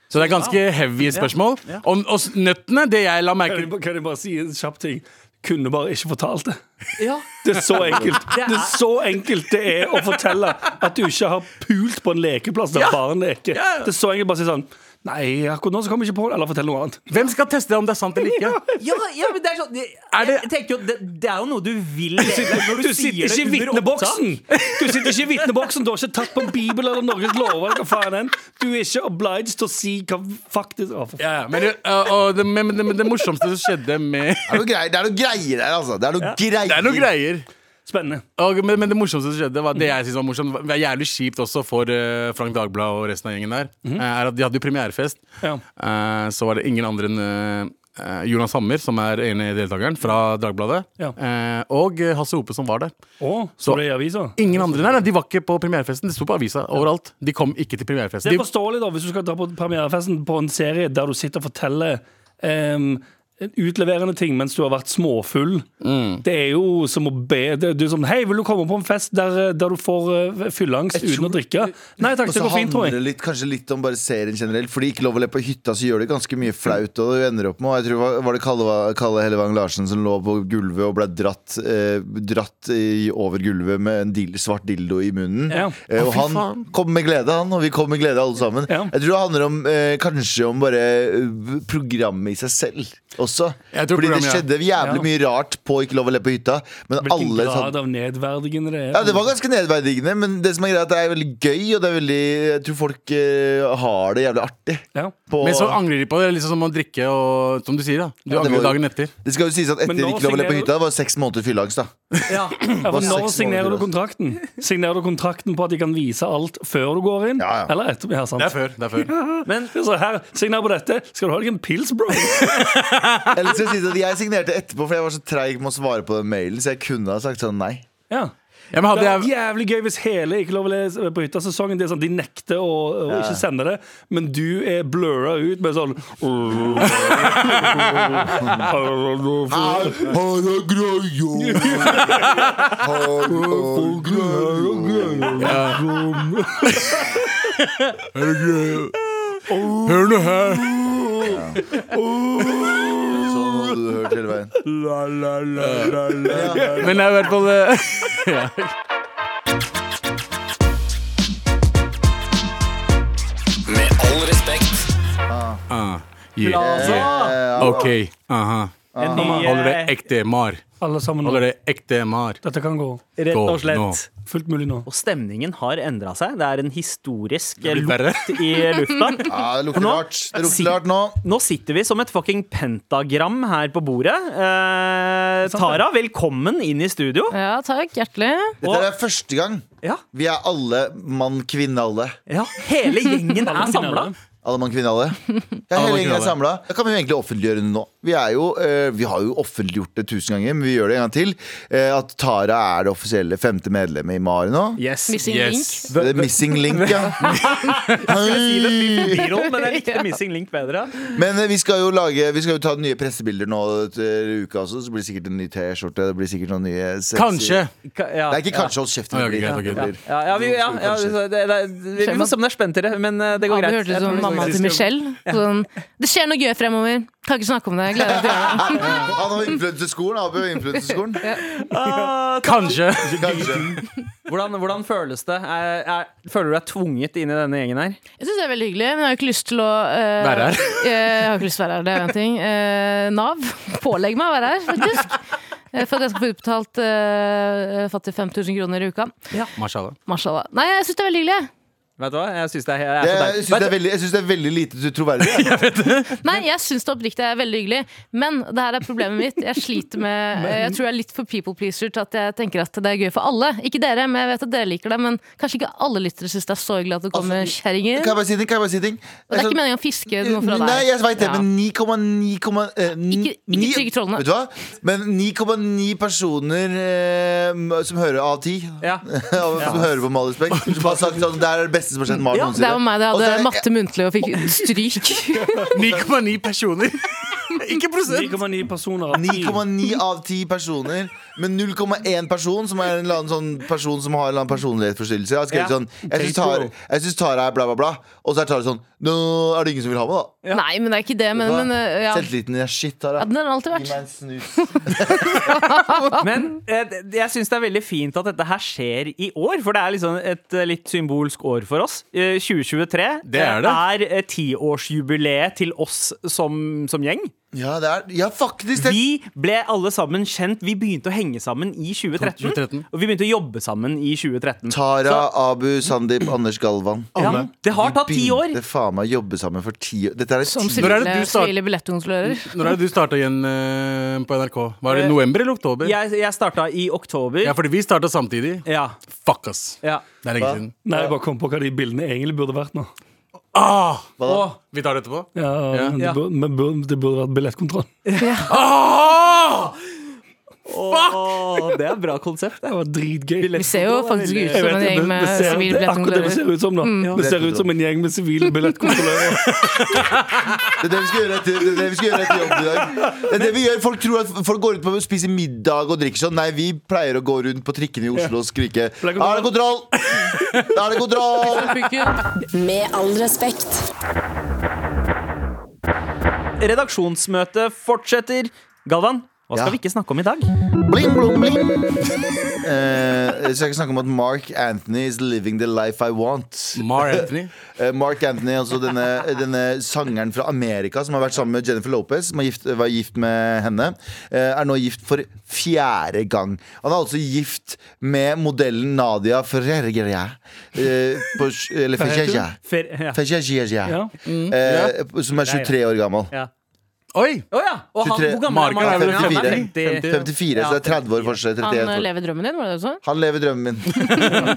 [SPEAKER 4] Så det er ganske heavy spørsmål. Og, og s- nøttene, det jeg la
[SPEAKER 5] Kan
[SPEAKER 4] merke
[SPEAKER 5] jeg bare- kan jeg bare si en kjapp ting? Kunne bare ikke fortalt det.
[SPEAKER 3] Ja.
[SPEAKER 5] Det er så enkelt Det er så enkelt det er å fortelle at du ikke har pult på en lekeplass der barn leker.
[SPEAKER 4] Ja, ja.
[SPEAKER 5] Det er så enkelt bare å si sånn Nei, akkurat nå så kommer jeg ikke på det. Eller fortell noe annet.
[SPEAKER 4] Hvem skal teste om det er sant eller ikke?
[SPEAKER 3] [LAUGHS] Ja, ja, men det er sånn jeg-
[SPEAKER 4] Er det-
[SPEAKER 3] Jeg tenker jo, det, det er jo noe du vil når
[SPEAKER 5] Du sitter ikke i vitneboksen! Du sitter ikke i vitneboksen, du har ikke tatt på Bibelen eller Norges lover. eller hva faen enn. Du er ikke obliged til å si hva faktisk Å, for faen.
[SPEAKER 4] Ja, ja, men, det- og- og det, men, men det, men det morsomste som skjedde med
[SPEAKER 2] Det er noe greier, det er noe greier der, altså. Det er noe greier.
[SPEAKER 4] [LAUGHS] Det er noen greier.
[SPEAKER 5] Spennende.
[SPEAKER 4] Og, men, men det morsomste som skjedde, var det jeg synes var morsomt Det var jævlig kjipt også for eh, Frank Dagblad og resten av gjengen der. eh, er at De hadde jo premierefest.
[SPEAKER 5] Mhm. Ja.
[SPEAKER 4] Eh, så var det ingen andre enn eh, eh, Jonas Hammer, som er ene deltakeren fra Dagbladet,
[SPEAKER 5] Ja.
[SPEAKER 4] eh, og eh, Hasse Hope, som var der.
[SPEAKER 5] Å,
[SPEAKER 4] Så-
[SPEAKER 5] så det i avisa?
[SPEAKER 4] Ingen andre der, nei, De var ikke på premierefesten. Det sto på avisa overalt. De kom ikke til premierefesten.
[SPEAKER 5] Det er
[SPEAKER 4] De,
[SPEAKER 5] forståelig da, hvis du skal dra på premierefesten på en serie der du sitter og forteller em, utleverende ting mens du har vært småfull.
[SPEAKER 2] Mm.
[SPEAKER 5] Det er jo som å be det, Du er sånn Hei, vil du komme på en fest der, eh, der du får eh, fylleangst uten å drikke? Nei takk,
[SPEAKER 2] Og så
[SPEAKER 5] det går fint, tror
[SPEAKER 2] handler det
[SPEAKER 5] jeg.
[SPEAKER 2] litt, kanskje litt om bare serien generelt. Fordi Ikke lov å le på hytta, så gjør det ganske mye flaut. Og du ender opp med, og jeg tror det var- Var det Kalle, Kalle Hellevang Larsen som lå på gulvet og ble dratt, eh, dratt i, over gulvet med en dil, svart dildo i munnen?
[SPEAKER 5] Ja.
[SPEAKER 2] Eh, og han kom med glede, han, og vi kom med glede alle sammen.
[SPEAKER 5] Ja.
[SPEAKER 2] Jeg tror det handler om, eh, kanskje om bare eh, programmet i seg selv også.
[SPEAKER 4] Jeg tror
[SPEAKER 2] Fordi det
[SPEAKER 4] programmet,
[SPEAKER 2] skjedde jævlig
[SPEAKER 5] Ja.
[SPEAKER 2] mye rart på Ikke lov å le på hytta, men
[SPEAKER 5] Hvilken
[SPEAKER 2] alle sånn-
[SPEAKER 5] grad av nedverdigende det er.
[SPEAKER 2] ja, Det var ganske nedverdigende, men det som er greit er at det er veldig gøy. Og det er veldig, jeg tror folk eh, har det jævlig artig.
[SPEAKER 5] Ja.
[SPEAKER 2] På,
[SPEAKER 4] Men så angrer de på det. Liksom som å drikke og Som du sier, da. Du
[SPEAKER 2] Ja, det
[SPEAKER 4] angrer
[SPEAKER 2] var-
[SPEAKER 4] dagen etter.
[SPEAKER 2] det skal jo sies at etter
[SPEAKER 5] Men nå
[SPEAKER 2] Ikke lov å le på
[SPEAKER 5] signerer-
[SPEAKER 2] hytta, det var seks måneder fylleangst. da
[SPEAKER 5] Ja, for
[SPEAKER 2] Det var
[SPEAKER 5] Når
[SPEAKER 2] seks
[SPEAKER 5] signerer
[SPEAKER 2] måneder,
[SPEAKER 5] du kontrakten? Signerer du kontrakten på at de kan vise alt før du går inn?
[SPEAKER 2] Ja, ja.
[SPEAKER 5] Eller etterpå? Ja, sant.
[SPEAKER 4] Det er før. Det er før.
[SPEAKER 5] Men så her, signer på dette. Skal du ha deg en pils, [LAUGHS] bro?
[SPEAKER 2] Eller skal jeg si at jeg signerte etterpå, for jeg var så treig med å svare på den mailen. Så jeg kunne ha sagt sånn nei.
[SPEAKER 5] Ja.
[SPEAKER 4] Ja, men
[SPEAKER 5] Det
[SPEAKER 4] hadde
[SPEAKER 5] er
[SPEAKER 4] jeg
[SPEAKER 5] jævlig gøy hvis hele Ikke lov å lese på hytta-sesongen De, er sånn, de nekter å, å ikke sende det, men du er blurra ut med sånn
[SPEAKER 4] Hør nå her!
[SPEAKER 2] Sånn hadde du hørt hele veien.
[SPEAKER 4] Men det er i hvert fall eh, [LAUGHS] ja.
[SPEAKER 6] Med all respekt.
[SPEAKER 4] Ah, yeah.
[SPEAKER 3] Altså,
[SPEAKER 4] OK. Aha.
[SPEAKER 3] en ny,
[SPEAKER 4] Holder det
[SPEAKER 3] eh,
[SPEAKER 4] ekte mar.
[SPEAKER 5] Alle sammen nå.
[SPEAKER 4] Holder det ekte mar.
[SPEAKER 5] Dette kan gå.
[SPEAKER 3] Rett
[SPEAKER 4] Gå
[SPEAKER 3] og
[SPEAKER 4] nå.
[SPEAKER 3] slett.
[SPEAKER 5] Fullt mulig nå.
[SPEAKER 3] Og stemningen har endra seg. Det er en historisk eh,
[SPEAKER 4] Det blir verre.
[SPEAKER 3] lukt i
[SPEAKER 4] [LAUGHS]
[SPEAKER 3] lufta.
[SPEAKER 2] Ja, det lukter
[SPEAKER 3] nå-
[SPEAKER 2] rart. Det lukter rart nå.
[SPEAKER 3] Nå sitter vi som et fucking pentagram her på bordet. Eh, Tara, velkommen inn i studio.
[SPEAKER 7] Ja, takk. Hjertelig.
[SPEAKER 2] Dette er første gang
[SPEAKER 3] Ja,
[SPEAKER 2] vi er alle mann, kvinne, alle.
[SPEAKER 3] ja. Hele gjengen [LAUGHS] er samla.
[SPEAKER 2] Alle mann, kvinne, alle. Ja,
[SPEAKER 4] Alle
[SPEAKER 2] hele
[SPEAKER 4] mann,
[SPEAKER 2] gjengen er
[SPEAKER 4] kvinne,
[SPEAKER 2] samla. Da kan vi jo egentlig offentliggjøre det nå. Vi, er jo, eh, vi har jo offentliggjort det tusen ganger, men vi gjør det en gang til. eh, at Tara er det offisielle femte medlemmet i MAR nå.
[SPEAKER 3] [LAUGHS]
[SPEAKER 4] Yes.
[SPEAKER 7] Missing
[SPEAKER 4] yes.
[SPEAKER 2] Det er missing link,
[SPEAKER 4] [LAUGHS]
[SPEAKER 2] ja. Hei.
[SPEAKER 3] Viral, men jeg likte Missing Link bedre.
[SPEAKER 2] Men eh, vi skal jo lage Vi skal jo ta nye pressebilder nå til uka også. Så blir det sikkert en ny T-skjorte. Det blir sikkert noen nye sexy-
[SPEAKER 4] Kanskje.
[SPEAKER 3] Ka- Ja,
[SPEAKER 2] Det er ikke kanskje, hold kjeft.
[SPEAKER 4] Å,
[SPEAKER 2] Det
[SPEAKER 4] ja,
[SPEAKER 2] blir,
[SPEAKER 4] greit, ok.
[SPEAKER 2] det blir.
[SPEAKER 3] Ja, ja, vi, ja, ja
[SPEAKER 2] Kanskje.
[SPEAKER 3] det, det, vi får se om det er spent til det, men eh, det går
[SPEAKER 7] Ja, det
[SPEAKER 3] greit.
[SPEAKER 7] hørtes ut som
[SPEAKER 3] Jeg tror
[SPEAKER 7] mamma til Michelle. Sånn, det skjer noe gøy fremover. Kan ikke snakke om det. Jeg gleder meg til å gjøre
[SPEAKER 3] [LAUGHS]
[SPEAKER 7] det.
[SPEAKER 2] Han har influenseskolen. Abu har influenseskolen.
[SPEAKER 4] Kanskje. [LAUGHS]
[SPEAKER 2] Kanskje.
[SPEAKER 3] Hvordan, hvordan føles det? Er, er, føler du deg tvunget inn i denne gjengen her?
[SPEAKER 7] Jeg syns det er veldig hyggelig, men jeg har ikke lyst til å eh,
[SPEAKER 4] Være her.
[SPEAKER 7] [LAUGHS] eh, jeg har ikke lyst til å være her, det er en ting. Eh, Nav [LAUGHS] pålegger meg å være her, faktisk. Eh, For at jeg skal få utbetalt uh, fattig 5000 kroner i uka.
[SPEAKER 4] Mashallah.
[SPEAKER 7] Mashallah. Nei, jeg syns det er veldig hyggelig.
[SPEAKER 3] Vet du hva? Jeg syns det er, jeg er så
[SPEAKER 2] Jeg
[SPEAKER 3] deilig.
[SPEAKER 2] syns det, er veldig- jeg synes det er veldig lite troverdig.
[SPEAKER 7] Nei, jeg syns det oppriktig er veldig hyggelig, men det her er problemet mitt. Jeg
[SPEAKER 2] [LAUGHS]
[SPEAKER 7] sliter med Jeg tror jeg er litt for people pleaser til at jeg tenker at det er gøy for alle. Ikke dere, men jeg vet at dere liker det. Men kanskje ikke alle lyttere syns det er så hyggelig at det kommer
[SPEAKER 2] Kan Altså, jeg
[SPEAKER 7] kjerringer.
[SPEAKER 2] bare si ting? Kan jeg bare si ting?
[SPEAKER 7] Og det er
[SPEAKER 2] Altså-
[SPEAKER 7] ikke meningen å fiske noe fra deg.
[SPEAKER 2] Nei, jeg vet det,
[SPEAKER 7] Ja.
[SPEAKER 2] men 9,9 eh, ni-
[SPEAKER 7] Ikke- ikke
[SPEAKER 2] ni-
[SPEAKER 7] trygg trollene.
[SPEAKER 2] Vet du hva? Men 9,9 personer eh, som hører av 10 [LAUGHS]
[SPEAKER 3] Ja.
[SPEAKER 5] [LAUGHS]
[SPEAKER 2] Som hører på Malis Beck. Som har sagt sånn, det er det beste som har skjedd Maren
[SPEAKER 3] Ja,
[SPEAKER 7] Det
[SPEAKER 2] noensinne.
[SPEAKER 7] var meg det
[SPEAKER 2] Og så er
[SPEAKER 7] hadde
[SPEAKER 2] det-
[SPEAKER 7] matte muntlig
[SPEAKER 2] [LAUGHS]
[SPEAKER 7] og fikk stryk.
[SPEAKER 4] 9,9 personer. [LAUGHS] Ikke prosent.
[SPEAKER 5] 9,9 personer av 10.
[SPEAKER 2] 9,9 av 10 personer, men 0,1 person som er en eller annen sånn person som har en eller annen personlighetsforstyrrelse, har skrevet
[SPEAKER 3] Ja.
[SPEAKER 2] sånn Jeg syns Tara, jeg synes Tara er bla, bla, bla. Og så er Tara sånn Nå er det ingen som vil ha meg, da.
[SPEAKER 7] Nei, men det er ikke det. Men, men øh, ja.
[SPEAKER 2] Selvtilliten din er shit, Tara.
[SPEAKER 7] ja, den har den alltid
[SPEAKER 2] Gi
[SPEAKER 7] vært.
[SPEAKER 2] meg en snus.
[SPEAKER 3] Men eh, det- jeg syns det er veldig fint at dette her skjer i år, for det er liksom et eh, litt symbolsk år for oss. Eh, 2023
[SPEAKER 4] Det er
[SPEAKER 3] eh,
[SPEAKER 4] det.
[SPEAKER 3] er, eh, tiårsjubileet til oss som, som gjeng.
[SPEAKER 2] Ja, det er Ja, faktisk. Det,
[SPEAKER 3] Vi ble alle sammen kjent. Vi begynte å henge sammen i 2013.
[SPEAKER 4] 2013.
[SPEAKER 3] Og vi begynte å jobbe sammen i 2013.
[SPEAKER 2] Tara, Abu, Sandeep, Anders Galvan.
[SPEAKER 3] Ja, det har tatt ti år.
[SPEAKER 2] Begynte faen meg å jobbe sammen for ti år. Dette er et
[SPEAKER 7] Som
[SPEAKER 2] ti-
[SPEAKER 4] Når er det
[SPEAKER 7] sånn sivile
[SPEAKER 4] du start-
[SPEAKER 7] sivile billettkontrollører.
[SPEAKER 4] Når er det du starta igjen eh, på NRK? Var det
[SPEAKER 3] Eh,
[SPEAKER 4] november eller oktober?
[SPEAKER 3] Jeg, jeg starta i oktober.
[SPEAKER 4] Ja, fordi vi starta samtidig.
[SPEAKER 3] Ja,
[SPEAKER 4] Fuck, ass.
[SPEAKER 3] ja.
[SPEAKER 4] Det er lenge siden.
[SPEAKER 5] Nei, jeg bare kom på hva de bildene egentlig burde vært nå.
[SPEAKER 4] Ah,
[SPEAKER 2] Hva da?
[SPEAKER 4] vi tar det etterpå?
[SPEAKER 5] Ja,
[SPEAKER 4] Ja.
[SPEAKER 5] men
[SPEAKER 3] Ja.
[SPEAKER 5] Det, burde, men burde, det burde vært billettkontroll.
[SPEAKER 4] Ah!
[SPEAKER 3] Åh, det er bra konsept. Det.
[SPEAKER 5] Det var dritgøy.
[SPEAKER 7] Vi ser jo faktisk ut som en gjeng med
[SPEAKER 5] ser-
[SPEAKER 7] sivile
[SPEAKER 5] det er akkurat det vi
[SPEAKER 7] billettkontrollører. Mm.
[SPEAKER 5] ser ut som nå. Det ser ut som en gjeng med sivile
[SPEAKER 7] [LAUGHS]
[SPEAKER 5] billettkontrollører.
[SPEAKER 2] Det er det vi skal gjøre etter, det er det vi skal gjøre etter jobb i dag. Det er det vi gjør, Folk tror at folk går rundt på og spiser middag og drikker sånn. Nei, vi pleier å gå rundt på trikkene i Oslo og skrike Er
[SPEAKER 5] det
[SPEAKER 2] det
[SPEAKER 5] kontroll?»
[SPEAKER 2] kontroll? Er det kontroll?
[SPEAKER 1] Med all respekt.
[SPEAKER 3] Redaksjonsmøtet fortsetter. Galvan, hva skal
[SPEAKER 2] Ja.
[SPEAKER 3] vi ikke snakke om i dag?
[SPEAKER 2] Bling, blong, bling. Eh, så jeg kan snakke om at Mark Anthony is living the life I want.
[SPEAKER 4] Mar Anthony.
[SPEAKER 2] Eh, Mark Anthony, altså denne, denne sangeren fra Amerika som har vært sammen med Jennifer Lopez, som var gift, var gift med henne, eh, er nå gift for fjerde gang. Han er altså gift med modellen Nadia Ferreira. eh, på sj- Eller Ferreira.
[SPEAKER 3] Fer ja.
[SPEAKER 2] Ferreira.
[SPEAKER 5] Ja.
[SPEAKER 7] Mm.
[SPEAKER 2] Eh, Som er 23 år gammel.
[SPEAKER 3] Ja.
[SPEAKER 4] Oi!
[SPEAKER 3] Å ja! Og han,
[SPEAKER 2] 23
[SPEAKER 3] hvor gammel
[SPEAKER 4] Marken er
[SPEAKER 3] er
[SPEAKER 4] vel
[SPEAKER 3] Mark Anthony?
[SPEAKER 2] 54.
[SPEAKER 3] 50.
[SPEAKER 2] 54, så det er 30 år forskjell. 31
[SPEAKER 7] Han eh,
[SPEAKER 2] år.
[SPEAKER 7] lever drømmen din, var det det du sa?
[SPEAKER 2] Han lever drømmen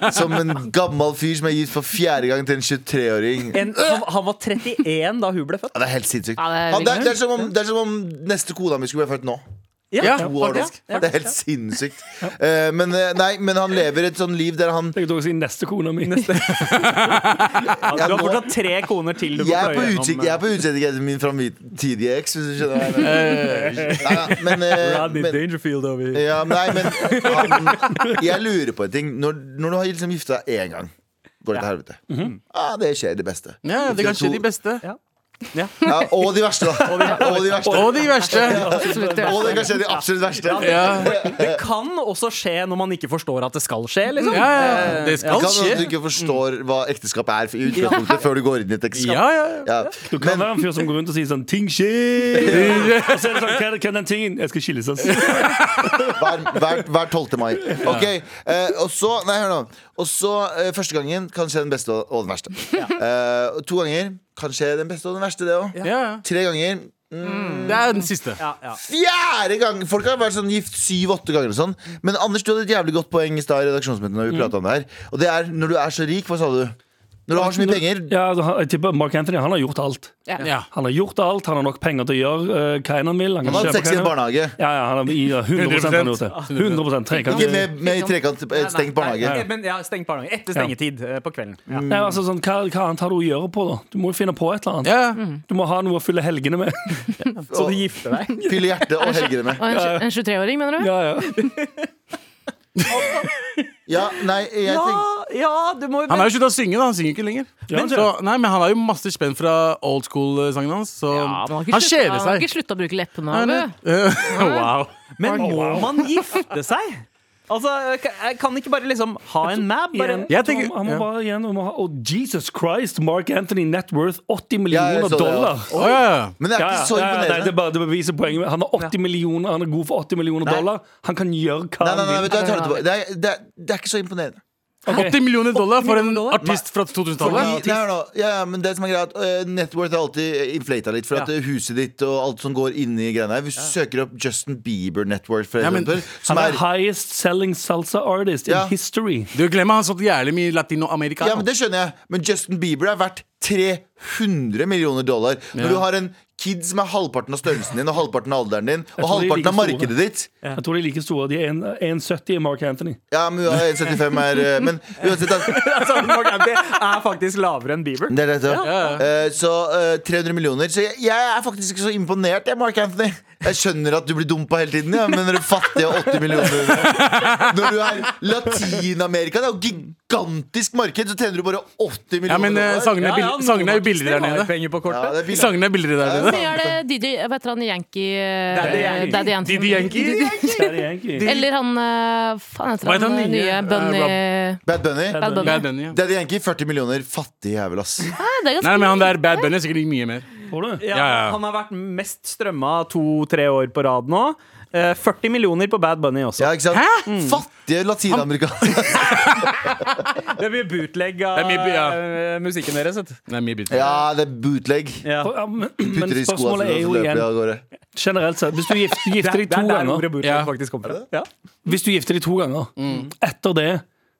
[SPEAKER 2] min. Som en gammel fyr som er gift for fjerde gang til en 23-åring.
[SPEAKER 3] En, han, han var 31 da hun ble født.
[SPEAKER 2] Ja, det er helt sinnssykt.
[SPEAKER 7] Ja, det er
[SPEAKER 2] Han- det, er,
[SPEAKER 7] virkelig.
[SPEAKER 2] det, er som om, det er som om neste kona mi skulle bli født nå.
[SPEAKER 4] Ja,
[SPEAKER 2] To år nå.
[SPEAKER 4] faktisk.
[SPEAKER 2] Det er helt sinnssykt. Eh, men, eh, nei, men han lever et sånn liv der han
[SPEAKER 5] Jeg kan også si neste kona mi.
[SPEAKER 3] Ja,
[SPEAKER 2] Ja,
[SPEAKER 3] du
[SPEAKER 2] nå-
[SPEAKER 3] har fortsatt tre koner til du må
[SPEAKER 2] jeg er
[SPEAKER 3] pløye
[SPEAKER 2] på
[SPEAKER 3] gjennom,
[SPEAKER 2] utkikk
[SPEAKER 3] eh.
[SPEAKER 2] Jeg er på utkikk etter min framtidige eks, hvis du skjønner hva jeg mener. Nei, ja, men, eh,
[SPEAKER 3] Rodney
[SPEAKER 2] men,
[SPEAKER 3] Dangerfield over i-
[SPEAKER 2] ja, nei, men han, Jeg lurer på en ting. Når, når du har liksom gifta deg én gang, går det til helvete. ah, det skjer det beste.
[SPEAKER 4] Ja, det kan skje de beste.
[SPEAKER 2] Ja, og de verste, da. Og de verste.
[SPEAKER 4] Og de verste.
[SPEAKER 7] Absolutt.
[SPEAKER 2] Og det kan skje de absolutt verste.
[SPEAKER 4] Ja,
[SPEAKER 3] Det kan også skje når man ikke forstår at det skal skje.
[SPEAKER 4] ja,
[SPEAKER 3] Liksom.
[SPEAKER 4] ja. Det
[SPEAKER 2] Det
[SPEAKER 4] skal
[SPEAKER 2] kan hende at du
[SPEAKER 4] skje.
[SPEAKER 2] ikke forstår hva ekteskap er i utgangspunktet før du går inn i et ekteskap.
[SPEAKER 4] Ja, ja.
[SPEAKER 2] Ja.
[SPEAKER 5] [LAUGHS] Du kan være en fyr som går rundt og sier sånn Ting [LAUGHS] skjer! Og så er det sånn, hva er det- hva er den tingen? Jeg skal skilles, altså. ass.
[SPEAKER 2] Hver, hver, hver 12. mai. Ok, eh, og så Nei, hør nå. Og så eh, første gangen kan skje den beste og, og den verste. Eh, og to ganger kan skje den beste og den verste, det òg.
[SPEAKER 4] ja.
[SPEAKER 2] Tre ganger
[SPEAKER 4] Det er den siste.
[SPEAKER 3] Ja, ja.
[SPEAKER 2] Fjerde gang! Folk har vært sånn gift syv-åtte ganger. og sånn Men Anders, du hadde et jævlig godt poeng i stad i redaksjonsmøtet. Når vi pratet om det her Og det er når du er så rik. Hva sa du? Når du har så mye penger.
[SPEAKER 5] Ja, altså, han- jeg tipper Mark Anthony han har gjort alt.
[SPEAKER 4] Ja.
[SPEAKER 5] Han har gjort alt, han har nok penger til å gjøre eh, hva enn han vil. Han kan
[SPEAKER 2] Han har
[SPEAKER 5] kjøpe
[SPEAKER 2] sex i en
[SPEAKER 5] hva enn han vil.
[SPEAKER 2] barnehage.
[SPEAKER 5] Ja, ja, han har i- ja, 100 han har gjort det. 100 trekant.
[SPEAKER 2] Ikke med, med i trekant eh, stengt barnehage.
[SPEAKER 3] Nei, men ja, stengt barnehage. Etter stengetid eh, på kvelden. Ja.
[SPEAKER 5] Ja, altså, sånn, hva, hva annet har du å gjøre på, da? Du må jo finne på et eller annet.
[SPEAKER 4] Ja.
[SPEAKER 5] Du må ha noe å fylle helgene med.
[SPEAKER 3] Mm.
[SPEAKER 2] Mm.
[SPEAKER 3] Så du gifter
[SPEAKER 2] [LAUGHS]
[SPEAKER 3] deg.
[SPEAKER 2] Fylle hjertet og helgene med.
[SPEAKER 7] Og en, tj- en 23-åring, mener du?
[SPEAKER 5] Ja, ja.
[SPEAKER 2] Ja, nei, jeg
[SPEAKER 3] Ja,
[SPEAKER 2] tenker
[SPEAKER 3] ja, du må jo
[SPEAKER 4] Han har jo slutta å synge, da. Han synger ikke lenger.
[SPEAKER 5] Men-
[SPEAKER 4] så, nei, men han har jo masse spenn fra old school-sangen hans, så
[SPEAKER 7] man har ikke
[SPEAKER 4] han
[SPEAKER 7] sluttet-
[SPEAKER 4] kjeder
[SPEAKER 7] Han har
[SPEAKER 4] seg.
[SPEAKER 7] ikke slutta å bruke leppene.
[SPEAKER 4] Nei,
[SPEAKER 7] har
[SPEAKER 4] nei.
[SPEAKER 7] du?
[SPEAKER 4] wow.
[SPEAKER 3] Men må man gifte seg? Altså, kan- Kan ikke bare liksom ha en mab? Bare en
[SPEAKER 4] Jeg tenker-
[SPEAKER 5] han, han må
[SPEAKER 4] ja.
[SPEAKER 5] bare igjen han må ha, oh, Jesus Christ, Mark Anthony, net worth 80
[SPEAKER 2] Ja,
[SPEAKER 5] millioner
[SPEAKER 2] jeg så det, ja.
[SPEAKER 5] dollar.
[SPEAKER 4] Å, ja, ja.
[SPEAKER 2] Men det er
[SPEAKER 5] Ja, ja,
[SPEAKER 2] ikke så
[SPEAKER 5] ja, ja, nei, det,
[SPEAKER 2] imponerende.
[SPEAKER 5] er bare, det beviser poenget. med- Han har 80 millioner, han er god for 80 millioner dollar. Han kan gjøre
[SPEAKER 2] Nei,
[SPEAKER 5] hva
[SPEAKER 2] nei,
[SPEAKER 5] han
[SPEAKER 2] nei,
[SPEAKER 5] vil.
[SPEAKER 2] vet du, jeg tar det tilbake. Det er, det, er, det er ikke så imponerende.
[SPEAKER 5] Ok.
[SPEAKER 4] 80 millioner dollar for en artist fra
[SPEAKER 2] Fordi,
[SPEAKER 4] 2000-tallet?
[SPEAKER 2] nei, hør nå, ja, ja, men det som er greit, eh, Net worth er alltid inflata litt, for at eh, huset ditt og alt som går inni greiene her Hvis du søker opp Justin Bieber Net worth, for
[SPEAKER 4] Ja, men-
[SPEAKER 2] eksempel,
[SPEAKER 5] Han
[SPEAKER 2] som
[SPEAKER 5] er
[SPEAKER 2] er
[SPEAKER 5] highest selling salsa artist
[SPEAKER 2] Ja.
[SPEAKER 5] in history.
[SPEAKER 4] Du glemmer han solgte jævlig mye latino-amerika.
[SPEAKER 2] Ja, men Det skjønner jeg, men Justin Bieber er verdt 300 millioner dollar. Når du har en kid som er halvparten av størrelsen din, og halvparten av alderen din, og
[SPEAKER 5] tror de er
[SPEAKER 2] halvparten av
[SPEAKER 5] like store.
[SPEAKER 2] markedet ditt
[SPEAKER 5] Jeg tror de er like store. De er en- 1,70 i Mark Anthony.
[SPEAKER 2] Ja, men hun er 1,75 er eh, Men uansett, da.
[SPEAKER 3] [LAUGHS] altså, Mark Anthony er faktisk lavere enn Bieber.
[SPEAKER 2] Det er det, ja. Eh, så eh, 300 millioner. Så jeg, jeg er faktisk ikke så imponert, jeg, Mark Anthony. Jeg skjønner at du blir dumpa hele tiden, ja, men når du er fattig av 80 millioner Når du er Latin-Amerika, det er jo gigantisk marked, så tjener du bare 80 millioner.
[SPEAKER 4] Ja, men eh,
[SPEAKER 2] dollar.
[SPEAKER 4] sangene, er
[SPEAKER 3] noen
[SPEAKER 4] bil- sangene er jo
[SPEAKER 3] artister
[SPEAKER 4] billigere
[SPEAKER 3] har
[SPEAKER 4] der nede.
[SPEAKER 3] penger på
[SPEAKER 2] ja,
[SPEAKER 3] kortet.
[SPEAKER 2] det er billig.
[SPEAKER 4] Sangene er billigere der nede.
[SPEAKER 7] Så gjør det DJ, hva heter han, Yankee
[SPEAKER 3] Daddy Yankee.
[SPEAKER 7] eh, Daddy Yankee.
[SPEAKER 4] Didi Yankee.
[SPEAKER 5] Det er de egentlig.
[SPEAKER 7] Eller han eh, Faen heter
[SPEAKER 4] Hva heter
[SPEAKER 7] han,
[SPEAKER 4] han
[SPEAKER 7] den
[SPEAKER 4] nye?
[SPEAKER 7] nye Bunny
[SPEAKER 2] Bad Bunny.
[SPEAKER 7] Bad Bunny.
[SPEAKER 4] Bad Bunny, ja.
[SPEAKER 2] Daddy Yankee 40 millioner. Fattig jævel, ass.
[SPEAKER 7] Nei, det er
[SPEAKER 4] Nei,
[SPEAKER 7] ganske
[SPEAKER 4] men han der Bad Bunny er sikkert mye mer.
[SPEAKER 5] Tror du?
[SPEAKER 3] Ja,
[SPEAKER 4] Ja, ja.
[SPEAKER 3] Han har vært mest strømma to-tre år på rad nå. Eh, 40 millioner på Bad Bunny også.
[SPEAKER 2] Ja, ikke sant? Mm. Fattige latinamerikanere.
[SPEAKER 3] Det blir bootleg av
[SPEAKER 4] Det er mye- ja.
[SPEAKER 3] eh, musikken deres. vet du.
[SPEAKER 4] Det er mye
[SPEAKER 2] [LAUGHS]
[SPEAKER 4] billigere.
[SPEAKER 2] Ja, det er bootleg.
[SPEAKER 3] Ja.
[SPEAKER 5] For- ja, Men, men
[SPEAKER 2] Putter i skoene
[SPEAKER 5] spørsmålet
[SPEAKER 2] og
[SPEAKER 5] er jo
[SPEAKER 2] så løper de
[SPEAKER 5] igjen
[SPEAKER 2] av gårde.
[SPEAKER 5] Generelt sett, hvis du gifter,
[SPEAKER 3] Det
[SPEAKER 5] gifter
[SPEAKER 3] er
[SPEAKER 5] deg to
[SPEAKER 3] der
[SPEAKER 5] ganger
[SPEAKER 3] ordet bootleg
[SPEAKER 4] Ja.
[SPEAKER 3] faktisk kommer fra. Ja.
[SPEAKER 5] Hvis du gifter deg to ganger
[SPEAKER 2] Mm.
[SPEAKER 5] Etter det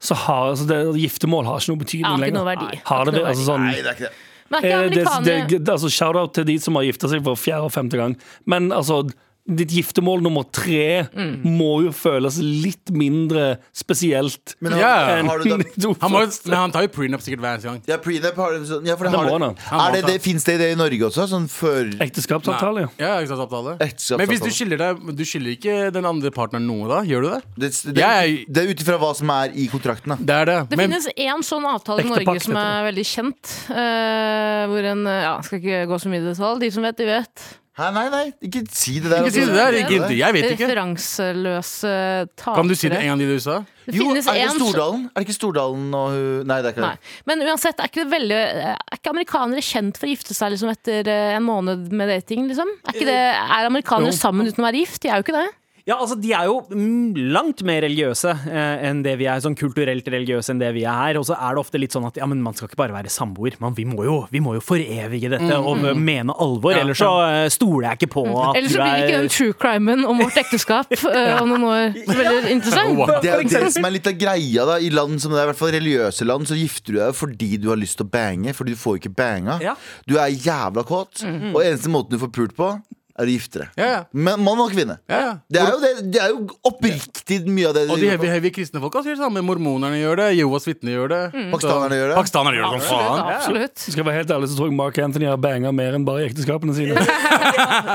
[SPEAKER 5] så har altså, det, Giftermål har ikke noe betydning
[SPEAKER 7] Har ikke
[SPEAKER 5] lenger
[SPEAKER 7] noe verdi.
[SPEAKER 5] Har det,
[SPEAKER 7] Har ikke noe
[SPEAKER 5] altså, sånn,
[SPEAKER 2] Nei, det er ikke det.
[SPEAKER 7] Men er
[SPEAKER 5] eh,
[SPEAKER 7] ikke
[SPEAKER 5] det, det,
[SPEAKER 7] amerikaner
[SPEAKER 5] det, altså, Shout out til de som har gifta seg for fjerde og femte gang Men altså ditt giftermål nummer tre
[SPEAKER 7] Mm.
[SPEAKER 5] må jo føles litt mindre spesielt.
[SPEAKER 2] Men
[SPEAKER 4] Ja.
[SPEAKER 5] [LAUGHS]
[SPEAKER 2] har, har du da
[SPEAKER 4] Han, må, jo- men han tar jo prenup sikkert hver eneste gang.
[SPEAKER 2] ja, prenup har du sånn ja, for det
[SPEAKER 5] Det
[SPEAKER 2] har
[SPEAKER 5] må
[SPEAKER 2] du.
[SPEAKER 4] ha.
[SPEAKER 5] han
[SPEAKER 4] Han
[SPEAKER 2] Er det,
[SPEAKER 4] må
[SPEAKER 2] det, Fins det i det i Norge også? Sånn før
[SPEAKER 5] Ekteskapsavtale, ja.
[SPEAKER 4] Ja, ikke sant, avtale.
[SPEAKER 2] Ekteskapsavtale.
[SPEAKER 4] Men hvis du skiller deg Du skiller ikke den andre partneren noe, da? Gjør du det?
[SPEAKER 2] Det, det,
[SPEAKER 4] Jeg-
[SPEAKER 2] det er ut ifra hva som er i kontrakten, da.
[SPEAKER 4] Det er det.
[SPEAKER 7] Det
[SPEAKER 4] Men
[SPEAKER 7] finnes én sånn avtale i
[SPEAKER 5] Ekte
[SPEAKER 7] Norge
[SPEAKER 5] pakt,
[SPEAKER 7] som
[SPEAKER 5] heter
[SPEAKER 7] er veldig kjent. eh, hvor en eh, Ja, skal ikke gå så mye i detalj. De som vet, de vet.
[SPEAKER 2] Hæ, nei, nei, ikke si det der.
[SPEAKER 4] ikke si det der. Ikke, inntil- jeg vet ikke.
[SPEAKER 7] Referanseløse tapere.
[SPEAKER 4] Kan du si det en gang til i USA?
[SPEAKER 2] Jo,
[SPEAKER 7] Det
[SPEAKER 2] er
[SPEAKER 7] finnes
[SPEAKER 2] det
[SPEAKER 7] en sånn-
[SPEAKER 2] Stordalen? Er det ikke Stordalen og hun Nei, det er ikke
[SPEAKER 7] Nei.
[SPEAKER 2] det.
[SPEAKER 7] Men uansett, er ikke, det veldig, er ikke amerikanere kjent for å gifte seg liksom, etter eh, en måned med dating? Liksom? Er, ikke det, er amerikanere sammen uten å være gift? De er jo ikke det.
[SPEAKER 3] Ja, altså, De er jo mm, langt mer religiøse eh, enn det vi er, sånn kulturelt religiøse enn det vi er her. Og så er det ofte litt sånn at ja, men man skal ikke bare være samboer. Man, vi, må jo, vi må jo forevige dette og eh, mene alvor, ellers så eh, stoler jeg ikke på at
[SPEAKER 7] Eller så blir ikke den true crimen om vårt ekteskap eh, om noen år veldig interessant.
[SPEAKER 2] Det er jo det som er litt av greia da I land som det er, i hvert fall religiøse land Så gifter du deg fordi du har lyst til å bange Fordi du får ikke banga
[SPEAKER 3] Ja.
[SPEAKER 2] Du er jævla kåt Og eneste måten du får pult på Er å gifte deg
[SPEAKER 4] Ja, ja.
[SPEAKER 2] Men mann og kvinne
[SPEAKER 4] Ja, ja.
[SPEAKER 2] det er, jo det, det er jo oppriktig mye av det
[SPEAKER 4] Og de heavy, heavy kristne folka sier det samme. Mormonerne gjør det. Jehovas vitner gjør det.
[SPEAKER 2] Mm. Pakistanerne gjør det.
[SPEAKER 4] Pakistanere gjør det som faen.
[SPEAKER 7] Absolutt.
[SPEAKER 5] Skal jeg være helt ærlig, så tror jeg Mark Anthony har banga mer enn bare i ekteskapene
[SPEAKER 2] [LAUGHS]
[SPEAKER 5] sine.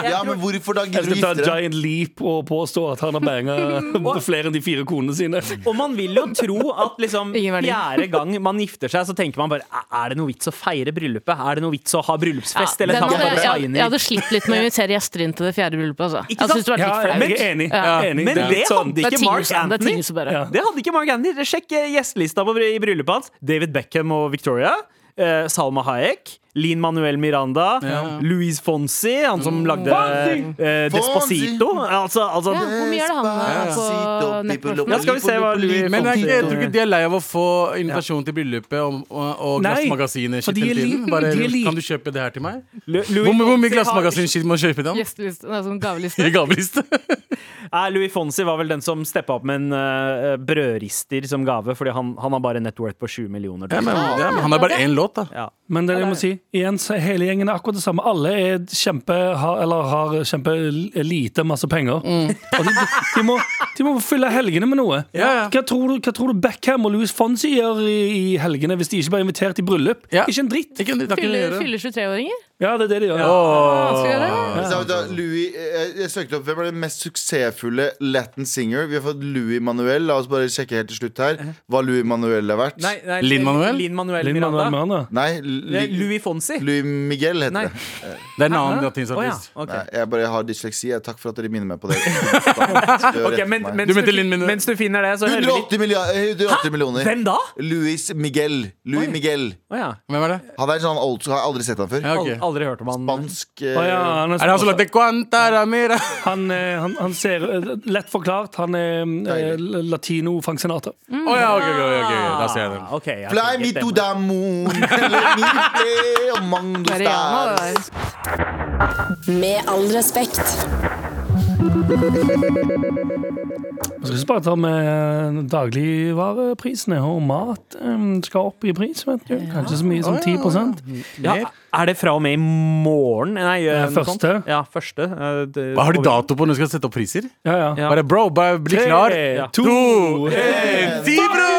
[SPEAKER 2] Ja, men hvorfor da
[SPEAKER 5] Jeg
[SPEAKER 2] gidder du
[SPEAKER 5] skal ta
[SPEAKER 2] å gifte
[SPEAKER 5] en
[SPEAKER 2] deg?
[SPEAKER 5] giant leap og påstå at han har
[SPEAKER 2] [LAUGHS]
[SPEAKER 5] banga flere enn de fire konene sine.
[SPEAKER 3] Og man vil jo tro at liksom
[SPEAKER 7] Ingen verdi.
[SPEAKER 3] fjerde gang man gifter seg, så tenker man bare "Er- Er det noe vits å feire bryllupet? Er det noe vits å ha
[SPEAKER 7] Ja,
[SPEAKER 3] bryllupsfest?
[SPEAKER 7] den
[SPEAKER 3] eller kan
[SPEAKER 7] hadde,
[SPEAKER 3] man
[SPEAKER 7] jeg,
[SPEAKER 3] bare ta inn
[SPEAKER 7] jeg
[SPEAKER 3] i
[SPEAKER 7] hadde slitt litt med å invitere gjester inn til det fjerde bryllupet. Altså.
[SPEAKER 3] Ikke
[SPEAKER 7] Jeg synes det hadde
[SPEAKER 5] Ja,
[SPEAKER 7] vært
[SPEAKER 5] jeg er
[SPEAKER 7] litt flaut.
[SPEAKER 5] enig.
[SPEAKER 7] Ja.
[SPEAKER 5] Jeg er enig.
[SPEAKER 3] Men det
[SPEAKER 5] er litt sånn-
[SPEAKER 3] hadde
[SPEAKER 7] Det er
[SPEAKER 3] ikke
[SPEAKER 7] ting
[SPEAKER 3] Mark
[SPEAKER 7] som- det er
[SPEAKER 3] Anthony.
[SPEAKER 7] ting som bare-
[SPEAKER 5] Ja.
[SPEAKER 3] Det hadde ikke Mark Anthony. Sjekk eh, gjestelista på bry- i bryllupet hans. David Beckham og Victoria. eh, Salma Hayek. Lin Manuel Miranda. Louis Fonsi, han
[SPEAKER 5] Mm.
[SPEAKER 3] som lagde eh, Despacito. Altså, altså
[SPEAKER 7] Ja, hvor mye er det han har på
[SPEAKER 2] Despacito, people
[SPEAKER 7] Netflix?
[SPEAKER 3] Ja, skal vi se hva Louis
[SPEAKER 4] Men jeg, jeg tror ikke
[SPEAKER 3] Fonsi
[SPEAKER 4] de er lei av å få invitasjon til bryllupet og, og, og
[SPEAKER 5] Nei,
[SPEAKER 4] glassmagasinet.
[SPEAKER 5] for de er
[SPEAKER 4] hele tiden.
[SPEAKER 5] li-
[SPEAKER 4] Bare,
[SPEAKER 5] de er li-
[SPEAKER 4] kan du kjøpe det her til meg?
[SPEAKER 3] Lu- Louis
[SPEAKER 4] Hvor, hvor mye
[SPEAKER 3] Fonsi har-
[SPEAKER 4] glassmagasin må du kjøpe den?
[SPEAKER 7] Gjesteliste, nei, sånn
[SPEAKER 4] I
[SPEAKER 7] gaveliste.
[SPEAKER 4] gaveliste.
[SPEAKER 3] Nei, Eh, Louis Fonsi var vel den som steppa opp med en eh, brødrister som gave, fordi han, han har bare en net worth på sju millioner.
[SPEAKER 4] Ja, men, ja, men han har bare én låt, da.
[SPEAKER 3] Ja.
[SPEAKER 5] Men det jeg må si, igjen, så hele gjengen er akkurat det samme. Alle er kjempe, har, eller har kjempelite masse penger. Og de, de, må, de må fylle helgene med noe.
[SPEAKER 4] Ja, ja.
[SPEAKER 5] Hva, tror du, hva tror du Beckham og Louis Fonsi gjør i, i helgene hvis de ikke blir invitert i bryllup?
[SPEAKER 4] Ja.
[SPEAKER 5] Ikke en dritt.
[SPEAKER 4] Ikke, det har ikke noe å
[SPEAKER 7] Fyller,
[SPEAKER 4] gjøre.
[SPEAKER 7] fyller 23-åringer?
[SPEAKER 5] Ja, det er det de gjør.
[SPEAKER 7] Hva skal vi gjøre?
[SPEAKER 2] Så da, Louis, jeg, jeg søkte opp Hvem er den mest suksessfulle Latin singer? Vi har fått Louis Manuel. La oss bare sjekke helt til slutt her hva Louis Manuel har vært.
[SPEAKER 3] Nei, nei,
[SPEAKER 4] Lin-Manuel?
[SPEAKER 3] Lin-Manuel
[SPEAKER 5] Lin
[SPEAKER 3] Miranda.
[SPEAKER 5] Manuel Miranda.
[SPEAKER 2] Nei,
[SPEAKER 3] Det
[SPEAKER 2] Li-
[SPEAKER 3] er Louis Fonsi.
[SPEAKER 2] Louis Miguel heter
[SPEAKER 3] Nei.
[SPEAKER 2] det.
[SPEAKER 4] Det er en annen
[SPEAKER 3] Å ja,
[SPEAKER 4] latinsartist.
[SPEAKER 3] ok.
[SPEAKER 2] Nei, jeg bare har dysleksi. Jeg- Takk for at dere minner meg på
[SPEAKER 3] [LAUGHS]
[SPEAKER 2] det. Det gjør
[SPEAKER 3] Ok,
[SPEAKER 2] rett
[SPEAKER 3] men,
[SPEAKER 2] for meg.
[SPEAKER 3] mens,
[SPEAKER 4] Du mente
[SPEAKER 3] du,
[SPEAKER 4] Lin Manuel.
[SPEAKER 3] mens du finner det, så hører vi
[SPEAKER 2] 180, millia- eh, 180 millioner.
[SPEAKER 3] Hvem da?
[SPEAKER 2] Louis Miguel. Louis Miguel.
[SPEAKER 3] Å ja.
[SPEAKER 4] Hvem er det?
[SPEAKER 2] Han er sånn old, jeg har aldri sett han før.
[SPEAKER 4] Ja, ok.
[SPEAKER 3] Al- Aldri hørt om han.
[SPEAKER 2] Spansk eh,
[SPEAKER 5] Å ja, han
[SPEAKER 4] Er det han som lagde Guantaramera?
[SPEAKER 5] han, eh, han, han ser eh, Lett forklart, han er eh, latino Frank Sinatra.
[SPEAKER 3] Mm.
[SPEAKER 4] Å ja, ok, ok, ok, eh, da ser jeg den.
[SPEAKER 3] Ah, ok, jeg
[SPEAKER 2] Fly
[SPEAKER 3] fikk
[SPEAKER 2] me
[SPEAKER 3] et
[SPEAKER 2] to
[SPEAKER 3] tema.
[SPEAKER 2] the moon. Let me play among the
[SPEAKER 7] Mariana, det
[SPEAKER 2] stars.
[SPEAKER 7] der.
[SPEAKER 1] Med all respekt.
[SPEAKER 5] Vi skal ikke bare ta med eh, dagligvareprisene og mat eh, skal opp i pris. vet du. Kanskje så mye som 10
[SPEAKER 3] Ja, er det fra og med i morgen? Nei, eh, noe
[SPEAKER 5] første.
[SPEAKER 3] sånt. Ja, første. eh, det-
[SPEAKER 4] Hva har de dato på når du skal sette opp priser?
[SPEAKER 5] Ja, ja.
[SPEAKER 3] Ja.
[SPEAKER 4] Bare bro, bare bli klar.
[SPEAKER 3] Ja.
[SPEAKER 5] To,
[SPEAKER 4] en, ti, bro!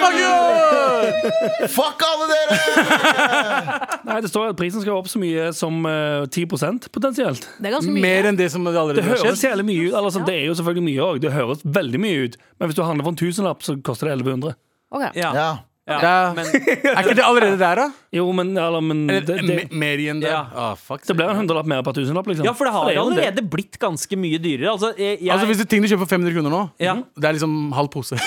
[SPEAKER 4] Fuck you!
[SPEAKER 2] Fuck alle dere!
[SPEAKER 5] Nei, Det står at prisen skal opp så mye som eh, 10 potensielt.
[SPEAKER 7] Det er ganske mye.
[SPEAKER 4] Mer enn det som allerede
[SPEAKER 5] Det
[SPEAKER 4] har
[SPEAKER 5] høres
[SPEAKER 4] skjedd.
[SPEAKER 5] hele mye ut. Eller, sånn, det er jo selvfølgelig mye òg. Det høres veldig mye ut. Men hvis du handler for en tusenlapp, så koster det 1100.
[SPEAKER 7] Ok.
[SPEAKER 3] Ja.
[SPEAKER 2] Ja.
[SPEAKER 4] Det er, er ikke det allerede der, da?
[SPEAKER 5] Jo, men, eller, men det,
[SPEAKER 4] Eller,
[SPEAKER 5] det,
[SPEAKER 4] me- mer igjen der?
[SPEAKER 3] Ja.
[SPEAKER 4] Ah, fuck.
[SPEAKER 5] det blir en hundrelapp mer per tusenlapp, liksom.
[SPEAKER 3] [LAUGHS] ja, for det har
[SPEAKER 5] er jo en del.
[SPEAKER 3] allerede blitt ganske mye dyrere. Altså, eh, jeg,
[SPEAKER 4] Altså Hvis det er ting du kjøper for 500 kroner nå,
[SPEAKER 3] Ja.
[SPEAKER 4] det er liksom halv pose.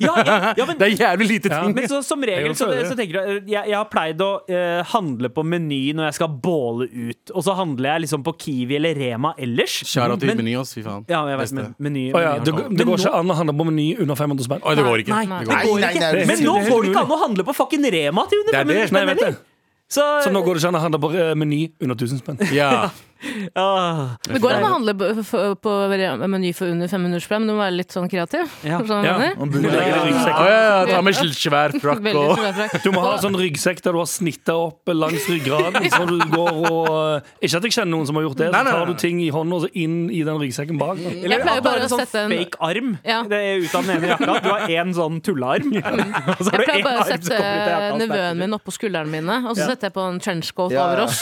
[SPEAKER 3] ja, ja, ja, men,
[SPEAKER 4] [LAUGHS] Det er jævlig lite ting.
[SPEAKER 3] Men så, som regel
[SPEAKER 5] Jeg
[SPEAKER 3] så,
[SPEAKER 5] føler det.
[SPEAKER 3] så tenker jeg eh, Jeg, jeg har pleid å eh, handle på Meny når jeg skal båle ut. Og så handler jeg liksom på Kiwi eller Rema ellers.
[SPEAKER 4] Kjære til
[SPEAKER 3] Men-
[SPEAKER 4] Meny, ass. Fy faen.
[SPEAKER 3] Ja, jeg vet,
[SPEAKER 4] Beste.
[SPEAKER 3] men meny,
[SPEAKER 5] Å ja,
[SPEAKER 3] Meny har
[SPEAKER 5] det,
[SPEAKER 3] sånn.
[SPEAKER 5] det
[SPEAKER 3] Men
[SPEAKER 5] går
[SPEAKER 3] nå-
[SPEAKER 5] ikke an å handle på Meny under 500 spenn.
[SPEAKER 4] Oi, det går ikke.
[SPEAKER 7] Nei,
[SPEAKER 4] Det
[SPEAKER 7] nei.
[SPEAKER 2] Nei,
[SPEAKER 4] går
[SPEAKER 2] nei,
[SPEAKER 4] ikke.
[SPEAKER 2] nei.
[SPEAKER 3] Men nå går det ikke an å handle på fucking Rema til under
[SPEAKER 4] Det er
[SPEAKER 3] 500
[SPEAKER 4] det.
[SPEAKER 5] Nei, jeg
[SPEAKER 3] spenn
[SPEAKER 5] vet det.
[SPEAKER 3] heller! Så,
[SPEAKER 5] Så nå går det ikke an å handle på eh, Meny under 1000 spenn.
[SPEAKER 4] Ja.
[SPEAKER 3] Åh.
[SPEAKER 7] Det går an å handle på- for- på Meny for under 500 spenn, men du må være litt sånn kreativ.
[SPEAKER 3] Ja.
[SPEAKER 7] Sånn
[SPEAKER 5] Ja.
[SPEAKER 7] mener.
[SPEAKER 2] Man burde-
[SPEAKER 5] Legger i ryggsekken.
[SPEAKER 4] Å, ja, ja, ta med sl- svær frakk
[SPEAKER 7] Veldig
[SPEAKER 4] og
[SPEAKER 7] tilbakefrakk.
[SPEAKER 5] Du må ha sånn ryggsekk der du har snitta opp langs
[SPEAKER 4] [LAUGHS]
[SPEAKER 5] ryggraden. Så du går og eh, Ikke at jeg kjenner noen som har gjort det.
[SPEAKER 4] Nei, nei, nei.
[SPEAKER 5] Så
[SPEAKER 4] Mm.
[SPEAKER 5] tar du ting i hånda og så inn i den ryggsekken bak.
[SPEAKER 3] Eller
[SPEAKER 7] Jeg
[SPEAKER 3] at
[SPEAKER 7] pleier
[SPEAKER 3] du har
[SPEAKER 7] bare
[SPEAKER 3] en
[SPEAKER 7] å
[SPEAKER 3] sånn
[SPEAKER 7] sette en-
[SPEAKER 3] fake arm
[SPEAKER 7] Ja.
[SPEAKER 3] det er ut av den ene jakka. Du har én sånn
[SPEAKER 7] [LAUGHS]
[SPEAKER 3] tullearm. Og så
[SPEAKER 7] Jeg
[SPEAKER 3] har du
[SPEAKER 7] pleier
[SPEAKER 3] én [LAUGHS]
[SPEAKER 7] bare å
[SPEAKER 3] arm som
[SPEAKER 7] sette
[SPEAKER 3] kommer ut av jakka.
[SPEAKER 7] nevøen min oppå skuldrene mine, og så setter jeg på en trenchcoat
[SPEAKER 2] Ja, ja.
[SPEAKER 7] over oss.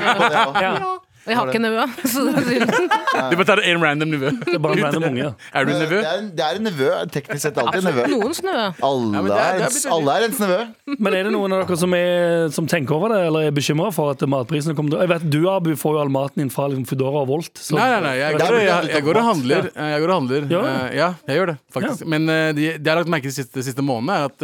[SPEAKER 2] Ja.
[SPEAKER 7] Og jeg har ikke nevø. [LAUGHS] Så det er
[SPEAKER 4] Du bare tar en random nivå.
[SPEAKER 5] Det er bare en random unge.
[SPEAKER 4] Er du
[SPEAKER 2] Det
[SPEAKER 4] nevø?
[SPEAKER 2] er en- det er en nevø. Teknisk sett alltid en nevø.
[SPEAKER 7] noens nevø.
[SPEAKER 2] Alle
[SPEAKER 4] det er-
[SPEAKER 2] er
[SPEAKER 4] det er
[SPEAKER 2] ens-
[SPEAKER 4] blitt-
[SPEAKER 2] alle er ens nevø.
[SPEAKER 5] Men er det noen av dere som, er, som tenker over det, eller er bekymra for at matprisene kommer til Jeg vet du, Abu, får jo all maten din fra liksom, Foodora og Volt. Så
[SPEAKER 4] Nei, nei, nei. Jeg går,
[SPEAKER 2] Der-
[SPEAKER 4] jeg, jeg går og handler. Jeg går og handler.
[SPEAKER 5] Ja.
[SPEAKER 4] Eh, Ja, jeg gjør det, faktisk. Men eh, de- det jeg har lagt merke til de siste, siste månedene, er at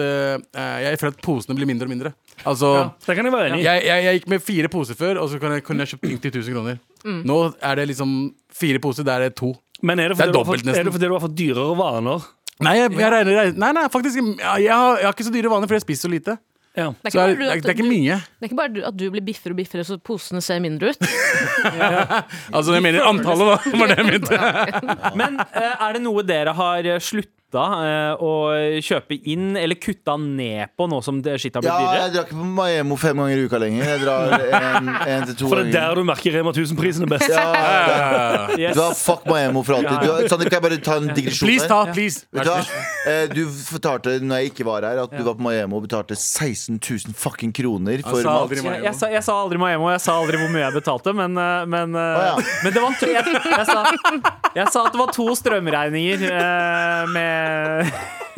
[SPEAKER 4] eh, jeg føler at posene blir mindre og mindre. Altså
[SPEAKER 5] det kan jeg være enig i.
[SPEAKER 4] jeg, jeg, jeg gikk med fire poser før, og så kunne jeg, kunne jeg kjøpt ting til 1000 kroner.
[SPEAKER 5] Mm.
[SPEAKER 4] Nå er det liksom fire poser, der er det to.
[SPEAKER 5] Men er det,
[SPEAKER 4] Det er
[SPEAKER 5] fordi du har
[SPEAKER 4] dobbelt
[SPEAKER 5] fått, er
[SPEAKER 4] nesten.
[SPEAKER 5] det fordi du har fått dyrere vaner?
[SPEAKER 4] Nei, jeg, jeg regner, jeg- nei, nei faktisk. Jeg, jeg, har, jeg har ikke så dyre vaner, for jeg spiser så lite.
[SPEAKER 5] Ja.
[SPEAKER 7] Det
[SPEAKER 4] Så
[SPEAKER 7] er
[SPEAKER 4] jeg,
[SPEAKER 7] ikke bare
[SPEAKER 4] det, er,
[SPEAKER 7] at
[SPEAKER 4] det er ikke
[SPEAKER 7] du-
[SPEAKER 4] mye.
[SPEAKER 7] det er ikke bare du- at du blir biffere og biffere, så posene ser mindre
[SPEAKER 3] [LAUGHS]
[SPEAKER 7] ut.
[SPEAKER 4] Altså, jeg mener antallet, da. Var det jeg mente.
[SPEAKER 3] Men eh, er det noe dere har slutta å kjøpe inn, eller kutta ned på nå som det skitt har blitt
[SPEAKER 2] Ja,
[SPEAKER 3] dyrere?
[SPEAKER 2] jeg drar ikke på Maemmo fem ganger i uka lenger. Jeg drar en, en til to
[SPEAKER 5] For det er
[SPEAKER 2] ganger.
[SPEAKER 5] der du merker Rema 1000-prisen er best.
[SPEAKER 2] Ja, det-
[SPEAKER 3] Yes.
[SPEAKER 2] du har fuck Maemmo for alltid. Du, har- Sander, kan jeg bare ta en digresjon
[SPEAKER 4] Please,
[SPEAKER 2] her?
[SPEAKER 4] ta. Please.
[SPEAKER 2] Vet du hva? Eh, Du fortalte når jeg ikke var her, at du var på Maemmo og betalte 16 000 fucking kroner for
[SPEAKER 4] Han sa aldri
[SPEAKER 2] mat.
[SPEAKER 3] Jeg,
[SPEAKER 4] meg
[SPEAKER 3] jeg, sa, jeg sa aldri Maemmo, jeg sa aldri hvor mye jeg betalte, men, eh, men,
[SPEAKER 2] Å,
[SPEAKER 3] eh,
[SPEAKER 2] ja.
[SPEAKER 3] men det var to, jeg, jeg, sa, jeg sa at det var to strømregninger eh, med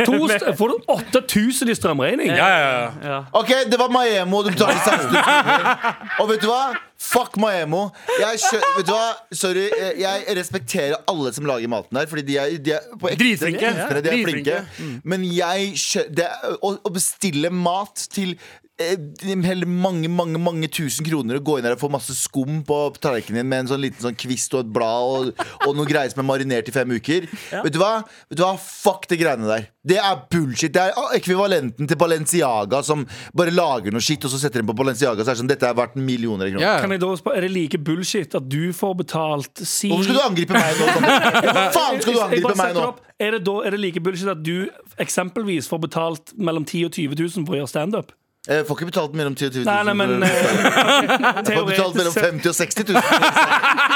[SPEAKER 5] To st- får du 8000 i strømregning?
[SPEAKER 4] Ja, ja, ja.
[SPEAKER 2] Ok, det var Maemmo, du
[SPEAKER 4] [LAUGHS]
[SPEAKER 2] betalte 16 000 kroner. Og vet du hva? Fuck Maemmo. Jeg kjø vet du hva? Sorry, eh, jeg respekterer alle som lager maten der, fordi de er, de er på ekte
[SPEAKER 4] Dritflinke.
[SPEAKER 2] kunstnere, De er flinke.
[SPEAKER 4] Dritflinke.
[SPEAKER 2] Mm. Men jeg skjø- det er, å, å bestille mat til eh, Heller mange mange, mange tusen kroner og gå inn her og få masse skum på tallerkenen din med en sånn liten sånn kvist og et blad og, og noe greier som er marinert i fem uker. Vet, du hva? Vet du hva? Fuck de greiene der. Det er bullshit. Det er ah, ekvivalenten til Balenciaga som bare lager noe shit, og så setter den på Balenciaga, så er det sånn dette er verdt millioner av kroner.
[SPEAKER 4] ja.
[SPEAKER 5] Kan jeg da spørre, Er det like bullshit at du får betalt si
[SPEAKER 2] Hvorfor skal du angripe meg nå? Sander? Hvorfor faen skal du
[SPEAKER 5] Jeg bare
[SPEAKER 2] angripe meg
[SPEAKER 5] setter
[SPEAKER 2] nå?
[SPEAKER 5] opp. Er det, da, er det like bullshit at du eksempelvis får betalt mellom 10 000 og 20 000 for å gjøre standup?
[SPEAKER 2] Jeg Eh, får ikke betalt mellom 10 og 20 000.
[SPEAKER 5] Nei, nei, men
[SPEAKER 2] for-
[SPEAKER 5] eh,
[SPEAKER 2] [LAUGHS] Jeg får betalt mellom
[SPEAKER 5] teoretisk sett
[SPEAKER 2] 50 og 60 000.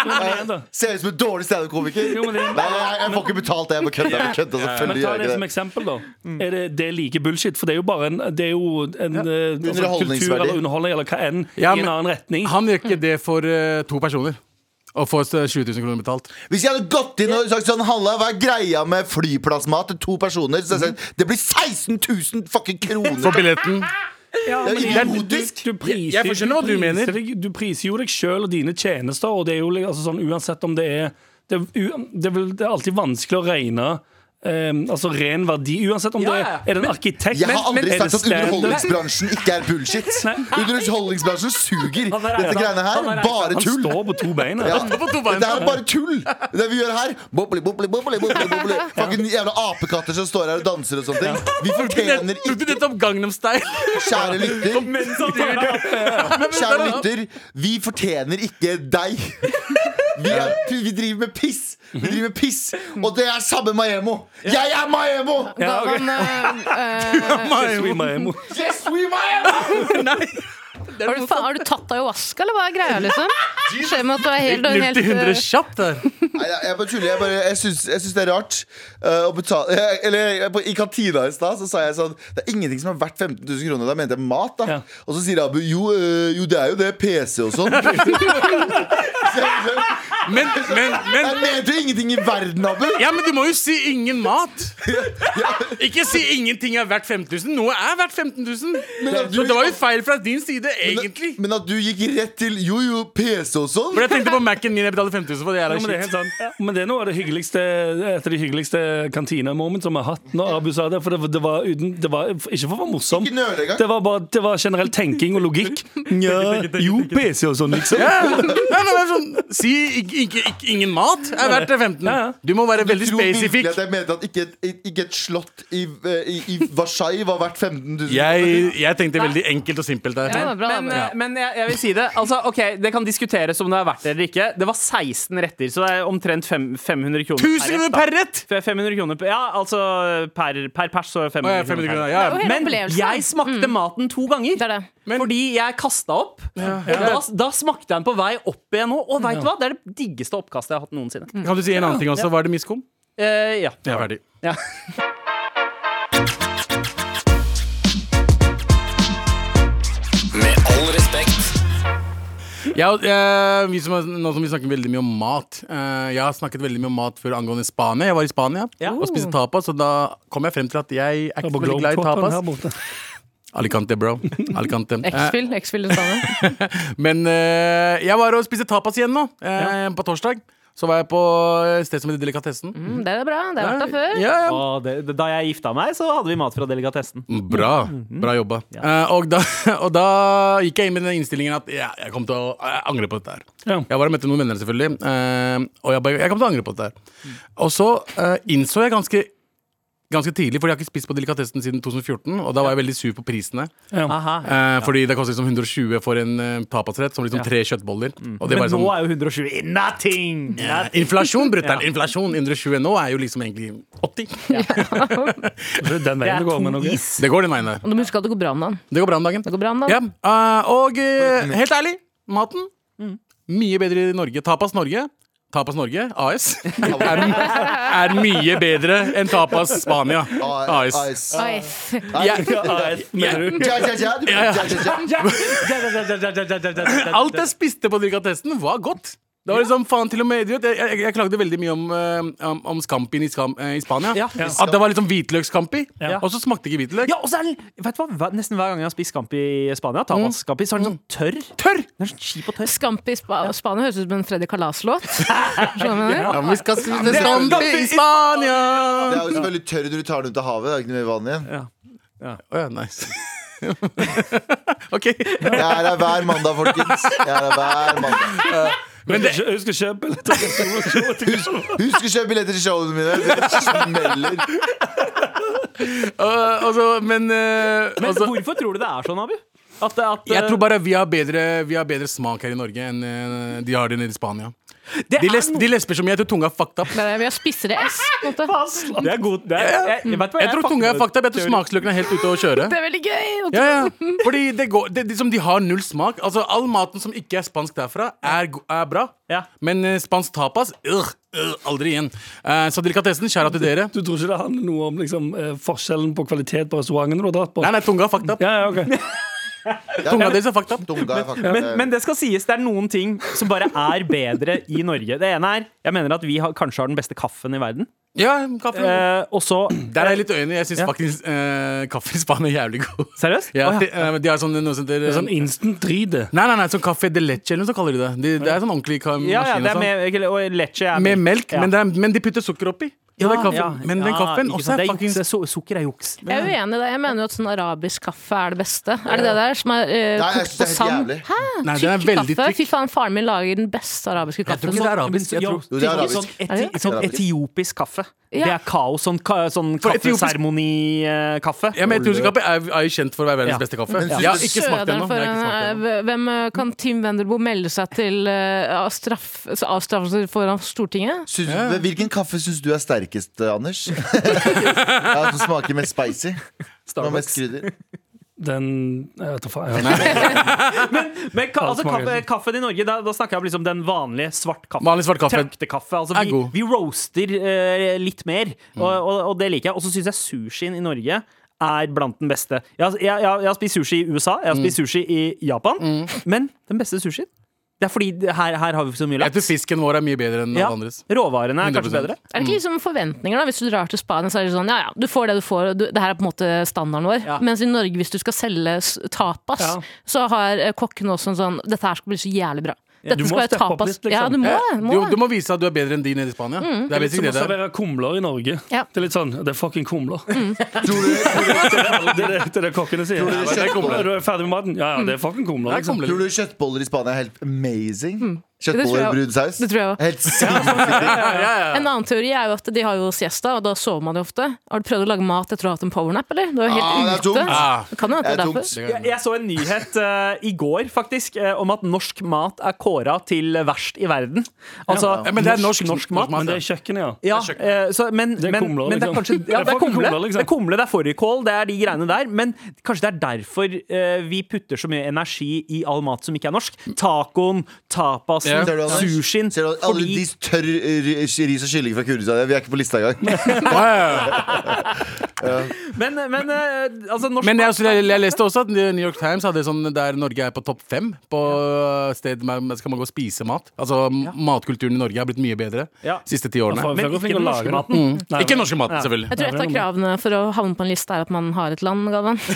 [SPEAKER 5] men det er det.
[SPEAKER 2] Ser ut som en dårlig standup-komiker.
[SPEAKER 5] Jo, men det-
[SPEAKER 2] Nei, jeg, jeg får ikke betalt det. Jeg bare kødder. jeg bare kødder,
[SPEAKER 5] Men
[SPEAKER 2] Selvfølgelig
[SPEAKER 5] ta
[SPEAKER 2] gjør
[SPEAKER 5] det
[SPEAKER 2] jeg
[SPEAKER 5] som
[SPEAKER 2] ikke det.
[SPEAKER 5] eksempel, da.
[SPEAKER 4] Mm.
[SPEAKER 5] Er det, det er like bullshit, for det er jo bare en, det er jo en eh, altså, kultur
[SPEAKER 2] Underholdningsverdi.
[SPEAKER 5] eller underholdning eller hva enn
[SPEAKER 4] Ja,
[SPEAKER 5] i
[SPEAKER 4] men-
[SPEAKER 5] en annen retning.
[SPEAKER 4] Han gjør ikke det for eh, to personer. Og får eh, 20 000 kroner betalt.
[SPEAKER 2] Hvis jeg hadde gått inn og sagt sånn Halla, hva er greia med flyplassmat til to personer? Så hadde jeg sagt det blir 16 000 fucking
[SPEAKER 4] For
[SPEAKER 2] kroner!
[SPEAKER 4] billetten.
[SPEAKER 2] Det er
[SPEAKER 5] Men
[SPEAKER 2] idiotisk!
[SPEAKER 5] Du, du priser,
[SPEAKER 4] Jeg- jeg forstår hva du mener.
[SPEAKER 5] priser deg- Du priser jo deg sjøl og dine tjenester, og det er jo li- altså, sånn uansett om det er Det, er u- det, er vel, det er alltid vanskelig å regne eh, altså ren verdi, uansett om
[SPEAKER 3] Ja,
[SPEAKER 5] det
[SPEAKER 3] ja.
[SPEAKER 5] er, er det en arkitekt
[SPEAKER 2] Jeg har
[SPEAKER 5] er
[SPEAKER 2] aldri
[SPEAKER 5] det
[SPEAKER 2] sagt at
[SPEAKER 5] standup?
[SPEAKER 2] underholdningsbransjen ikke er bullshit. Underholdningsbransjen suger.
[SPEAKER 3] Han der er-
[SPEAKER 2] Dette greiene her
[SPEAKER 3] han der er-
[SPEAKER 2] er bare
[SPEAKER 5] Han
[SPEAKER 2] tull.
[SPEAKER 5] står på to bein.
[SPEAKER 2] Ja.
[SPEAKER 5] her.
[SPEAKER 2] Dette her er bare tull! Det vi gjør her Bobli, bobli, bobli, bobli, bobli. Fucking jævla apekatter som står her og danser og sånne ting. Vi fortjener
[SPEAKER 4] Tok du
[SPEAKER 2] ikke
[SPEAKER 4] nettopp Gangnam
[SPEAKER 7] [LAUGHS]
[SPEAKER 4] Style?
[SPEAKER 2] Kjære lytter, [LAUGHS] kjære lytter, vi fortjener ikke deg. Vi, er, vi driver med piss. Vi driver med piss Og det er samme Maemmo. Jeg er Maemmo!
[SPEAKER 7] Galvan, eh, eh,
[SPEAKER 5] Sweet Maemo.
[SPEAKER 2] Yes, we Maemmo!
[SPEAKER 7] har, du, faen- har du tatt ayahuasca, eller hva er greia,
[SPEAKER 3] [LAUGHS]
[SPEAKER 7] liksom? Skjer med at du er helt, og
[SPEAKER 4] 0
[SPEAKER 7] helt
[SPEAKER 4] til 100
[SPEAKER 7] eh,
[SPEAKER 4] kjapt der.
[SPEAKER 2] Nei, jeg, jeg bare tuller. Jeg, bare- jeg syns jeg syns det er rart eh, å betale [LAUGHS] eh, Eller jeg- på, i kantina i stad så sa jeg sånn Det er ingenting som er verdt 15 000 kroner. Da mente jeg mat, da.
[SPEAKER 5] Ja.
[SPEAKER 2] Og så sier Abu jo, eh, jo, det er jo det. PC og sånn. Så
[SPEAKER 4] Men, men, men
[SPEAKER 2] jeg mente jo ingenting i verden, Abu.
[SPEAKER 4] Ja, men du må jo si ingen mat. Ikke si ingenting er verdt 15 000. Noe er verdt 15 000.
[SPEAKER 2] at du-
[SPEAKER 4] Så det var jo feil fra din side, egentlig.
[SPEAKER 2] Men at du gikk rett til jo, jo, PC og sånn.
[SPEAKER 4] For jeg tenkte på Mac-en min jeg betaler 5000 for. Det er
[SPEAKER 5] Ja,
[SPEAKER 4] da
[SPEAKER 5] men, det er
[SPEAKER 4] shit.
[SPEAKER 5] helt sant. men det er noe av det hyggeligste Et av de hyggeligste kantinemoment som vi har hatt. Når Abu sa det, for det, var- det, var uten, det var ikke for å være morsom.
[SPEAKER 2] Ikke nøle engang.
[SPEAKER 5] Det var, bare, det var generell tenking og logikk. Nja, jo, PC og sånn, liksom.
[SPEAKER 4] Ja, ja, ja, det er sånn, Si ikke, ikke, ikke, ingen mat er verdt 15. Du må være veldig
[SPEAKER 2] tror virkelig
[SPEAKER 4] spesifikk.
[SPEAKER 2] at jeg mente at ikke et, ikke et slott i, eh, i, i Versailles var verdt 15 000?
[SPEAKER 4] Jeg, jeg tenkte veldig enkelt og simpelt der.
[SPEAKER 7] Ja, det var bra,
[SPEAKER 3] men,
[SPEAKER 7] det var
[SPEAKER 3] eh, men jeg, jeg vil si det. Altså, ok, Det kan diskuteres om det er verdt det eller ikke. Det var 16 retter, så det er omtrent fem, 500 kroner
[SPEAKER 4] 1000 kroner
[SPEAKER 3] da.
[SPEAKER 4] per rett!
[SPEAKER 3] F- 500 kroner per, ja, altså per, per pers så er det
[SPEAKER 4] Å,
[SPEAKER 3] 500
[SPEAKER 4] ja, 500
[SPEAKER 3] kroner.
[SPEAKER 4] kroner.
[SPEAKER 3] per.
[SPEAKER 4] Ja,
[SPEAKER 7] Det var
[SPEAKER 4] ja.
[SPEAKER 7] helt-
[SPEAKER 3] Men
[SPEAKER 7] opplevelse.
[SPEAKER 3] jeg smakte maten to ganger.
[SPEAKER 7] Mm. Det er det.
[SPEAKER 3] Fordi jeg kasta opp. Og da, da smakte jeg den på vei opp igjen nå. Og veit du hva? Det er det diggeste oppkastet jeg har hatt noensinne.
[SPEAKER 7] Mm.
[SPEAKER 4] Kan du si en annen ting også? Var det miskom?
[SPEAKER 3] Eh, ja.
[SPEAKER 4] Jeg er ferdig.
[SPEAKER 3] ja.
[SPEAKER 6] Med all respekt.
[SPEAKER 4] Jeg, og- eh, vi som, har- nå som vi snakker veldig mye om mat eh, Jeg har snakket veldig mye om mat før angående Spania. Jeg var i Spania og spiste tapas, og da kom jeg frem til at jeg er ikke så veldig glad i
[SPEAKER 5] Globetrotteren her
[SPEAKER 4] tapas.
[SPEAKER 5] borte.
[SPEAKER 4] Alicante, bro.
[SPEAKER 7] [LAUGHS]
[SPEAKER 4] Alicante. Eh,
[SPEAKER 7] X-Fill, X-Fill det [LAUGHS] samme.
[SPEAKER 4] Men eh, jeg var og spiste tapas igjen nå, eh, på torsdag. Så var jeg på eh, et sted som heter Delikatessen.
[SPEAKER 7] Mm, Det er bra. Det har vært der før.
[SPEAKER 4] Ja, ja.
[SPEAKER 3] Og det, da jeg gifta meg, så hadde vi mat fra delikatessen.
[SPEAKER 4] Bra.
[SPEAKER 3] Mm-hmm.
[SPEAKER 4] Bra jobba. Eh, og, da, [LAUGHS] og da gikk jeg inn med den innstillingen at ja, jeg kom til å jeg angre på dette her.
[SPEAKER 5] Ja.
[SPEAKER 4] Jeg var og møtte noen venner, selvfølgelig. eh, og jeg, bare, jeg kom til å angre på dette
[SPEAKER 3] Mm.
[SPEAKER 4] her. Og så eh, innså jeg ganske Ganske tidlig, fordi jeg har ikke spist på delikatessen siden 2014. Og da var jeg veldig sur på prisene.
[SPEAKER 3] Aha.
[SPEAKER 4] Eh, Fordi det kostet liksom 120 for en eh, tapasrett, som liksom tre kjøttboller. Og det
[SPEAKER 3] Mm. Men
[SPEAKER 4] var liksom-
[SPEAKER 3] nå er jo 120 nothing!
[SPEAKER 4] Ja, Inflasjon, brutter'n. Inflasjon 120 nå er jo liksom egentlig 80.
[SPEAKER 3] [LAUGHS]
[SPEAKER 5] Det
[SPEAKER 3] Det
[SPEAKER 5] er den veien
[SPEAKER 3] er
[SPEAKER 5] det går med
[SPEAKER 3] to
[SPEAKER 5] noe.
[SPEAKER 3] is.
[SPEAKER 4] [LAUGHS] Det går den veien der.
[SPEAKER 7] Og du må huske at det går bra om dagen.
[SPEAKER 4] Det går bra om dagen.
[SPEAKER 7] Det går bra om
[SPEAKER 4] Ja,
[SPEAKER 7] dagen.
[SPEAKER 4] eh, og eh, helt ærlig, maten
[SPEAKER 3] Mm.
[SPEAKER 4] mye bedre i Norge. Tapas Norge. Tapas Norge
[SPEAKER 3] [LAUGHS]
[SPEAKER 4] AS er, er mye bedre enn Tapas Spania
[SPEAKER 2] Ah,
[SPEAKER 4] AS.
[SPEAKER 2] ice.
[SPEAKER 7] Oi, f-
[SPEAKER 4] Jeg,
[SPEAKER 3] [LAUGHS]
[SPEAKER 2] Ja, ja, ja, du- ja, ja, ja.
[SPEAKER 4] alt jeg spiste på delikatessen, var godt. Det var liksom, faen, til og med, du vet, jeg, jeg, jeg klagde veldig mye om, eh, om, om scampien i, skam, eh, i Spania.
[SPEAKER 3] Ja.
[SPEAKER 4] At det var liksom hvitløksscampi,
[SPEAKER 5] Ja.
[SPEAKER 4] og så smakte ikke hvitløk.
[SPEAKER 3] Ja, og så er den vet du hva, hver- Nesten hver gang jeg har spist scampi i Spania, tapas-scampi, så er den sånn tørr. Tørr! Den er sånn kjip og tørr.
[SPEAKER 7] Scampi i Spa Spania høres ut som en Freddy
[SPEAKER 2] [LAUGHS]
[SPEAKER 7] Kalas-låt.
[SPEAKER 4] Ja, men vi skal sånn. spise
[SPEAKER 2] det er jo
[SPEAKER 4] scampi i Spania!
[SPEAKER 2] Det er jo selvfølgelig tørr når du tar den ut av havet. Det er ikke noe mer vann igjen.
[SPEAKER 4] Å ja, nice. [LAUGHS] ok.
[SPEAKER 2] Jeg er her hver mandag, folkens. Jeg er her hver mandag
[SPEAKER 4] Men det,
[SPEAKER 5] Jeg husker ikke billetter.
[SPEAKER 2] Husk å kjøpe billetter til showene mine. Det smeller.
[SPEAKER 4] øh, altså, men, øh,
[SPEAKER 3] [LAUGHS] Men
[SPEAKER 4] altså,
[SPEAKER 3] hvorfor tror du det er sånn, Abu? At, at eh,
[SPEAKER 4] Jeg tror bare vi har bedre, vi har bedre smak her i Norge enn øh, de har det nede i Spania.
[SPEAKER 3] det
[SPEAKER 4] De,
[SPEAKER 3] er
[SPEAKER 4] les,
[SPEAKER 3] noe-
[SPEAKER 4] de lesber som jeg tror tunga er fucked up.
[SPEAKER 7] Det er- Vi har spissere S. på en måte.
[SPEAKER 3] Det er god det er, jeg, jeg, vet du hva,
[SPEAKER 4] Jeg tror tunga er fucked up, jeg tror smaksløkene er helt ute å kjøre.
[SPEAKER 7] [LAUGHS] Det er veldig gøy!
[SPEAKER 4] Ja, ja. Fordi det går, det, de, som de har null smak. Altså All maten som ikke er spansk derfra, er, go- er bra.
[SPEAKER 3] Ja.
[SPEAKER 4] Men øh, spansk tapas øh, øh, aldri igjen. Eh, så delikatessen, kjære til dere.
[SPEAKER 5] Du tror ikke det handler noe om liksom, eh, forskjellen på kvalitet på restauranten du har dratt på?
[SPEAKER 4] Nei, nei, tunga er fucked up.
[SPEAKER 5] Ja, ja, ok
[SPEAKER 4] Tunga deres er fucked up.
[SPEAKER 2] Tunga er faktisk
[SPEAKER 3] [LAUGHS] Men, men det skal sies, det er noen ting som bare er bedre i Norge. Det ene er jeg mener at vi har, kanskje har den beste kaffen i verden.
[SPEAKER 4] Ja, kaffe.
[SPEAKER 3] Eh, og så
[SPEAKER 4] Der er jeg litt uenig. Jeg syns
[SPEAKER 3] Ja.
[SPEAKER 4] faktisk eh, kaffe i Spania er jævlig god.
[SPEAKER 3] Seriøst?
[SPEAKER 4] Ja,
[SPEAKER 3] Å, ja.
[SPEAKER 4] de, eh, de har sånn noe som heter
[SPEAKER 5] Sånn instant drit det.
[SPEAKER 4] Nei, nei, nei, sånn kaffe de leche, eller noe sånt kaller de det. De, det er sånn ordentlig ka- maskin.
[SPEAKER 3] Ja, ja, det er
[SPEAKER 4] og sånn.
[SPEAKER 3] med, ikke- og leche er
[SPEAKER 4] med melk,
[SPEAKER 3] Ja.
[SPEAKER 4] men, det er, men de putter sukker oppi. Så det er kaffe,
[SPEAKER 3] Ja,
[SPEAKER 4] men den
[SPEAKER 3] ja,
[SPEAKER 4] kaffen
[SPEAKER 3] ikke
[SPEAKER 4] også
[SPEAKER 3] sant.
[SPEAKER 4] er
[SPEAKER 3] Det
[SPEAKER 4] fuckings
[SPEAKER 3] juks. Su- Sukker er juks.
[SPEAKER 7] Jeg er uenig i det. Jeg mener jo at sånn arabisk kaffe er det beste. Er det det der som er eh,
[SPEAKER 2] Nei, jeg
[SPEAKER 7] kokt
[SPEAKER 2] synes
[SPEAKER 7] på
[SPEAKER 2] det er helt
[SPEAKER 7] sand?
[SPEAKER 2] jævlig.
[SPEAKER 7] Hæ?
[SPEAKER 4] Nei, den er
[SPEAKER 7] Tykk
[SPEAKER 4] veldig
[SPEAKER 7] kaffe? Fy
[SPEAKER 4] tykk.
[SPEAKER 7] faen, faren min lager den beste arabiske
[SPEAKER 4] Jeg tror
[SPEAKER 7] kaffen.
[SPEAKER 4] ikke det er
[SPEAKER 7] Sånn-
[SPEAKER 4] arabisk. Jeg tror
[SPEAKER 2] Jo, det er
[SPEAKER 3] Sånn
[SPEAKER 2] arabisk.
[SPEAKER 3] eti- Sånn
[SPEAKER 2] arabisk.
[SPEAKER 3] etiopisk kaffe.
[SPEAKER 7] Ja.
[SPEAKER 3] Det er kaos. Sånn, ka, sånn eh,
[SPEAKER 4] For etiopisk-
[SPEAKER 3] kaffeseremonikaffe.
[SPEAKER 4] ja, men etiopisk kaffe er, er jo kjent for å være verdens
[SPEAKER 3] Ja.
[SPEAKER 4] beste kaffe.
[SPEAKER 2] Men
[SPEAKER 4] Jeg har ikke smakt det
[SPEAKER 7] Søderen
[SPEAKER 4] ennå.
[SPEAKER 7] for
[SPEAKER 4] Jeg har ikke smakt det
[SPEAKER 7] en-
[SPEAKER 4] ennå.
[SPEAKER 7] eh, Hvem eh, kan Tim Wenderboe melde seg til eh, av straff, altså avstraffelse foran Stortinget?
[SPEAKER 2] Syns- Hvilken kaffe syns du er sterkest,
[SPEAKER 7] [LAUGHS]
[SPEAKER 2] Anders? ja, Som smaker mest spicy? Som har mest
[SPEAKER 7] [LAUGHS]
[SPEAKER 2] krydder?
[SPEAKER 5] Den Jeg vet da faen. Jeg har
[SPEAKER 3] Men ka,
[SPEAKER 5] Alt
[SPEAKER 3] altså,
[SPEAKER 5] smaker
[SPEAKER 3] kaffe, kaffen i Norge, da, da snakker jeg om liksom den vanlige svart kaffe.
[SPEAKER 4] Vanlig svart kaffe.
[SPEAKER 3] Traktekaffe. Altså,
[SPEAKER 4] Er
[SPEAKER 3] vi,
[SPEAKER 4] god. Mm.
[SPEAKER 3] vi roaster eh, litt mer, og, og, og det liker jeg. Og så syns jeg sushien i Norge er blant den beste. Jeg, har- jeg, jeg, jeg har spist sushi i USA, jeg har
[SPEAKER 4] Mm.
[SPEAKER 3] spist sushi i Japan, men den beste sushien Det er fordi det- her, her har vi så mye
[SPEAKER 4] Jeg tror
[SPEAKER 3] laks.
[SPEAKER 4] fisken vår er mye bedre enn
[SPEAKER 3] Ja,
[SPEAKER 4] alle andres.
[SPEAKER 3] råvarene er kanskje
[SPEAKER 4] 100%.
[SPEAKER 3] bedre.
[SPEAKER 7] Er det ikke liksom forventninger, da? Hvis du drar til Spania, så er det sånn ja ja, du får det du får, og du, det her er på en måte standarden vår.
[SPEAKER 3] Ja.
[SPEAKER 7] Mens i Norge, hvis du skal selge s- tapas,
[SPEAKER 5] Ja.
[SPEAKER 7] så har eh, kokkene også en sånn Dette her skal bli så jævlig bra. Dette
[SPEAKER 5] du må
[SPEAKER 7] skal være
[SPEAKER 5] steppe opp
[SPEAKER 7] tapas.
[SPEAKER 5] litt, liksom.
[SPEAKER 7] Ja, du må, det, må
[SPEAKER 4] Du, du
[SPEAKER 7] det. Mm.
[SPEAKER 4] må vise at du er bedre enn de nede i Spania. Det er
[SPEAKER 5] litt
[SPEAKER 4] basically
[SPEAKER 5] som å
[SPEAKER 4] det det er.
[SPEAKER 5] servere kumler i Norge.
[SPEAKER 7] Ja. Mm.
[SPEAKER 5] Det er litt sånn Det er fucking kumler.
[SPEAKER 2] Tror du,
[SPEAKER 5] Det er det, det, er det kokkene
[SPEAKER 2] Tror
[SPEAKER 5] sier.
[SPEAKER 2] du det er
[SPEAKER 5] Ja,
[SPEAKER 2] kjøttboller?
[SPEAKER 7] Mm.
[SPEAKER 5] er du ferdig med maten? Ja, ja, det er fucking kumler.
[SPEAKER 4] Det er
[SPEAKER 5] Liksom.
[SPEAKER 4] kumler.
[SPEAKER 2] tror du kjøttboller i Spania er helt amazing? Kjøttboller og
[SPEAKER 7] jeg-
[SPEAKER 2] brun saus?
[SPEAKER 7] Hmm. det tror jeg også.
[SPEAKER 2] Helt sinnssykt.
[SPEAKER 4] Ja, ja, ja.
[SPEAKER 7] En annen teori er jo at de har jo siesta, og da sover man jo ofte. Har du prøvd å lage mat etter å ha hatt en powernap, eller? Du er jo helt
[SPEAKER 2] Ah, det er
[SPEAKER 7] ute.
[SPEAKER 2] tungt.
[SPEAKER 4] Ah.
[SPEAKER 7] Det kan jo
[SPEAKER 2] Det
[SPEAKER 7] hende
[SPEAKER 2] er
[SPEAKER 7] det er
[SPEAKER 2] tungt.
[SPEAKER 7] derfor.
[SPEAKER 3] Jeg, jeg så en nyhet eh, i går faktisk eh, om at norsk mat er kåra til verst i verden. Altså
[SPEAKER 4] Ja, men det er norsk-
[SPEAKER 3] norsk mat.
[SPEAKER 5] Men det er kjøkkenet, ja.
[SPEAKER 3] Ja, eh, så, men,
[SPEAKER 5] er
[SPEAKER 3] men,
[SPEAKER 5] kumler,
[SPEAKER 3] men det er
[SPEAKER 5] liksom.
[SPEAKER 3] kanskje ja,
[SPEAKER 5] Det
[SPEAKER 3] det,
[SPEAKER 5] er
[SPEAKER 3] er kumle,
[SPEAKER 5] kumler, liksom.
[SPEAKER 3] det er kumle, det er fårikål, det er de greiene der. Men kanskje det er derfor eh, vi putter så mye energi i all mat som ikke er norsk. Tacoen,
[SPEAKER 4] Ja.
[SPEAKER 3] tapasen,
[SPEAKER 2] Ser du, Anders?
[SPEAKER 3] sushien.
[SPEAKER 2] Ser du, alle de
[SPEAKER 3] Fordi
[SPEAKER 2] tørr eh, ris og kylling fra Kurdistan. Vi er ikke på lista engang.
[SPEAKER 4] Ja, ja, ja.
[SPEAKER 3] Men, men eh, altså, norsk
[SPEAKER 4] Men jeg,
[SPEAKER 3] mat
[SPEAKER 4] jeg, jeg leste også at New York Times hadde sånn der Norge er på topp fem på sted man man skal man gå og spise mat. Altså m- matkulturen i Norge har blitt mye bedre
[SPEAKER 3] Ja.
[SPEAKER 4] siste ti årene.
[SPEAKER 5] Faen, vi er
[SPEAKER 3] Men
[SPEAKER 5] godt
[SPEAKER 3] ikke
[SPEAKER 5] flinke
[SPEAKER 3] den
[SPEAKER 5] å
[SPEAKER 3] norske
[SPEAKER 5] lage det.
[SPEAKER 3] maten.
[SPEAKER 5] Nei,
[SPEAKER 4] Ikke norske maten, selvfølgelig.
[SPEAKER 7] Jeg tror et av kravene for å havne på en liste er at man har et land,
[SPEAKER 5] [LAUGHS]
[SPEAKER 7] Galvan.
[SPEAKER 2] Du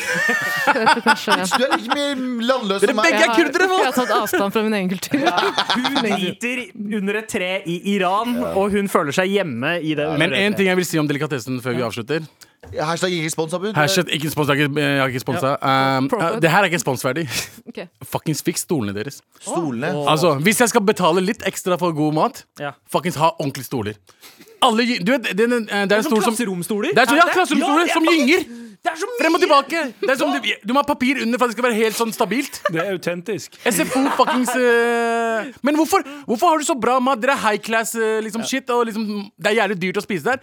[SPEAKER 2] er like mye landløs
[SPEAKER 4] Dere
[SPEAKER 2] som meg.
[SPEAKER 4] begge er kurdere,
[SPEAKER 7] Jeg
[SPEAKER 4] hva?
[SPEAKER 7] har tatt avstand fra min egen kultur.
[SPEAKER 3] Hun
[SPEAKER 2] [LAUGHS]
[SPEAKER 3] driter under et tre i Iran, og hun føler seg hjemme i det.
[SPEAKER 4] Men én ting jeg vil si om delikatessen før vi avslutter.
[SPEAKER 2] Hashtag ikke sponsorbud.
[SPEAKER 4] Hashtag, ikke spons, jeg har ikke- jeg har ikke sponsa. Um,
[SPEAKER 7] Profit.
[SPEAKER 4] uh, det her er ikke sponsverdig. [LAUGHS]
[SPEAKER 7] Ok.
[SPEAKER 4] Fuckings fikk stolene deres.
[SPEAKER 2] Stolene.
[SPEAKER 4] Altså, Hvis jeg skal betale litt ekstra for god mat,
[SPEAKER 3] Ja.
[SPEAKER 4] fuckings ha ordentlige stoler. Alle, gy- du vet, det, er en- det er en
[SPEAKER 3] Som
[SPEAKER 4] stol som
[SPEAKER 3] klasseromstoler.
[SPEAKER 4] Det er, så-
[SPEAKER 3] Er
[SPEAKER 4] ja,
[SPEAKER 3] det?
[SPEAKER 4] klasseromstoler
[SPEAKER 3] sånn Ja,
[SPEAKER 4] som
[SPEAKER 3] ja.
[SPEAKER 4] gynger!
[SPEAKER 3] Det er så mye!
[SPEAKER 4] Frem og tilbake. Det er som du, du må ha papir under for at det skal være helt sånn stabilt.
[SPEAKER 5] Det er autentisk.
[SPEAKER 4] SFO fuckings eh, Men hvorfor, hvorfor har du så bra mat? Dere er high class eh, liksom shit, og liksom, det er jævlig dyrt å spise der.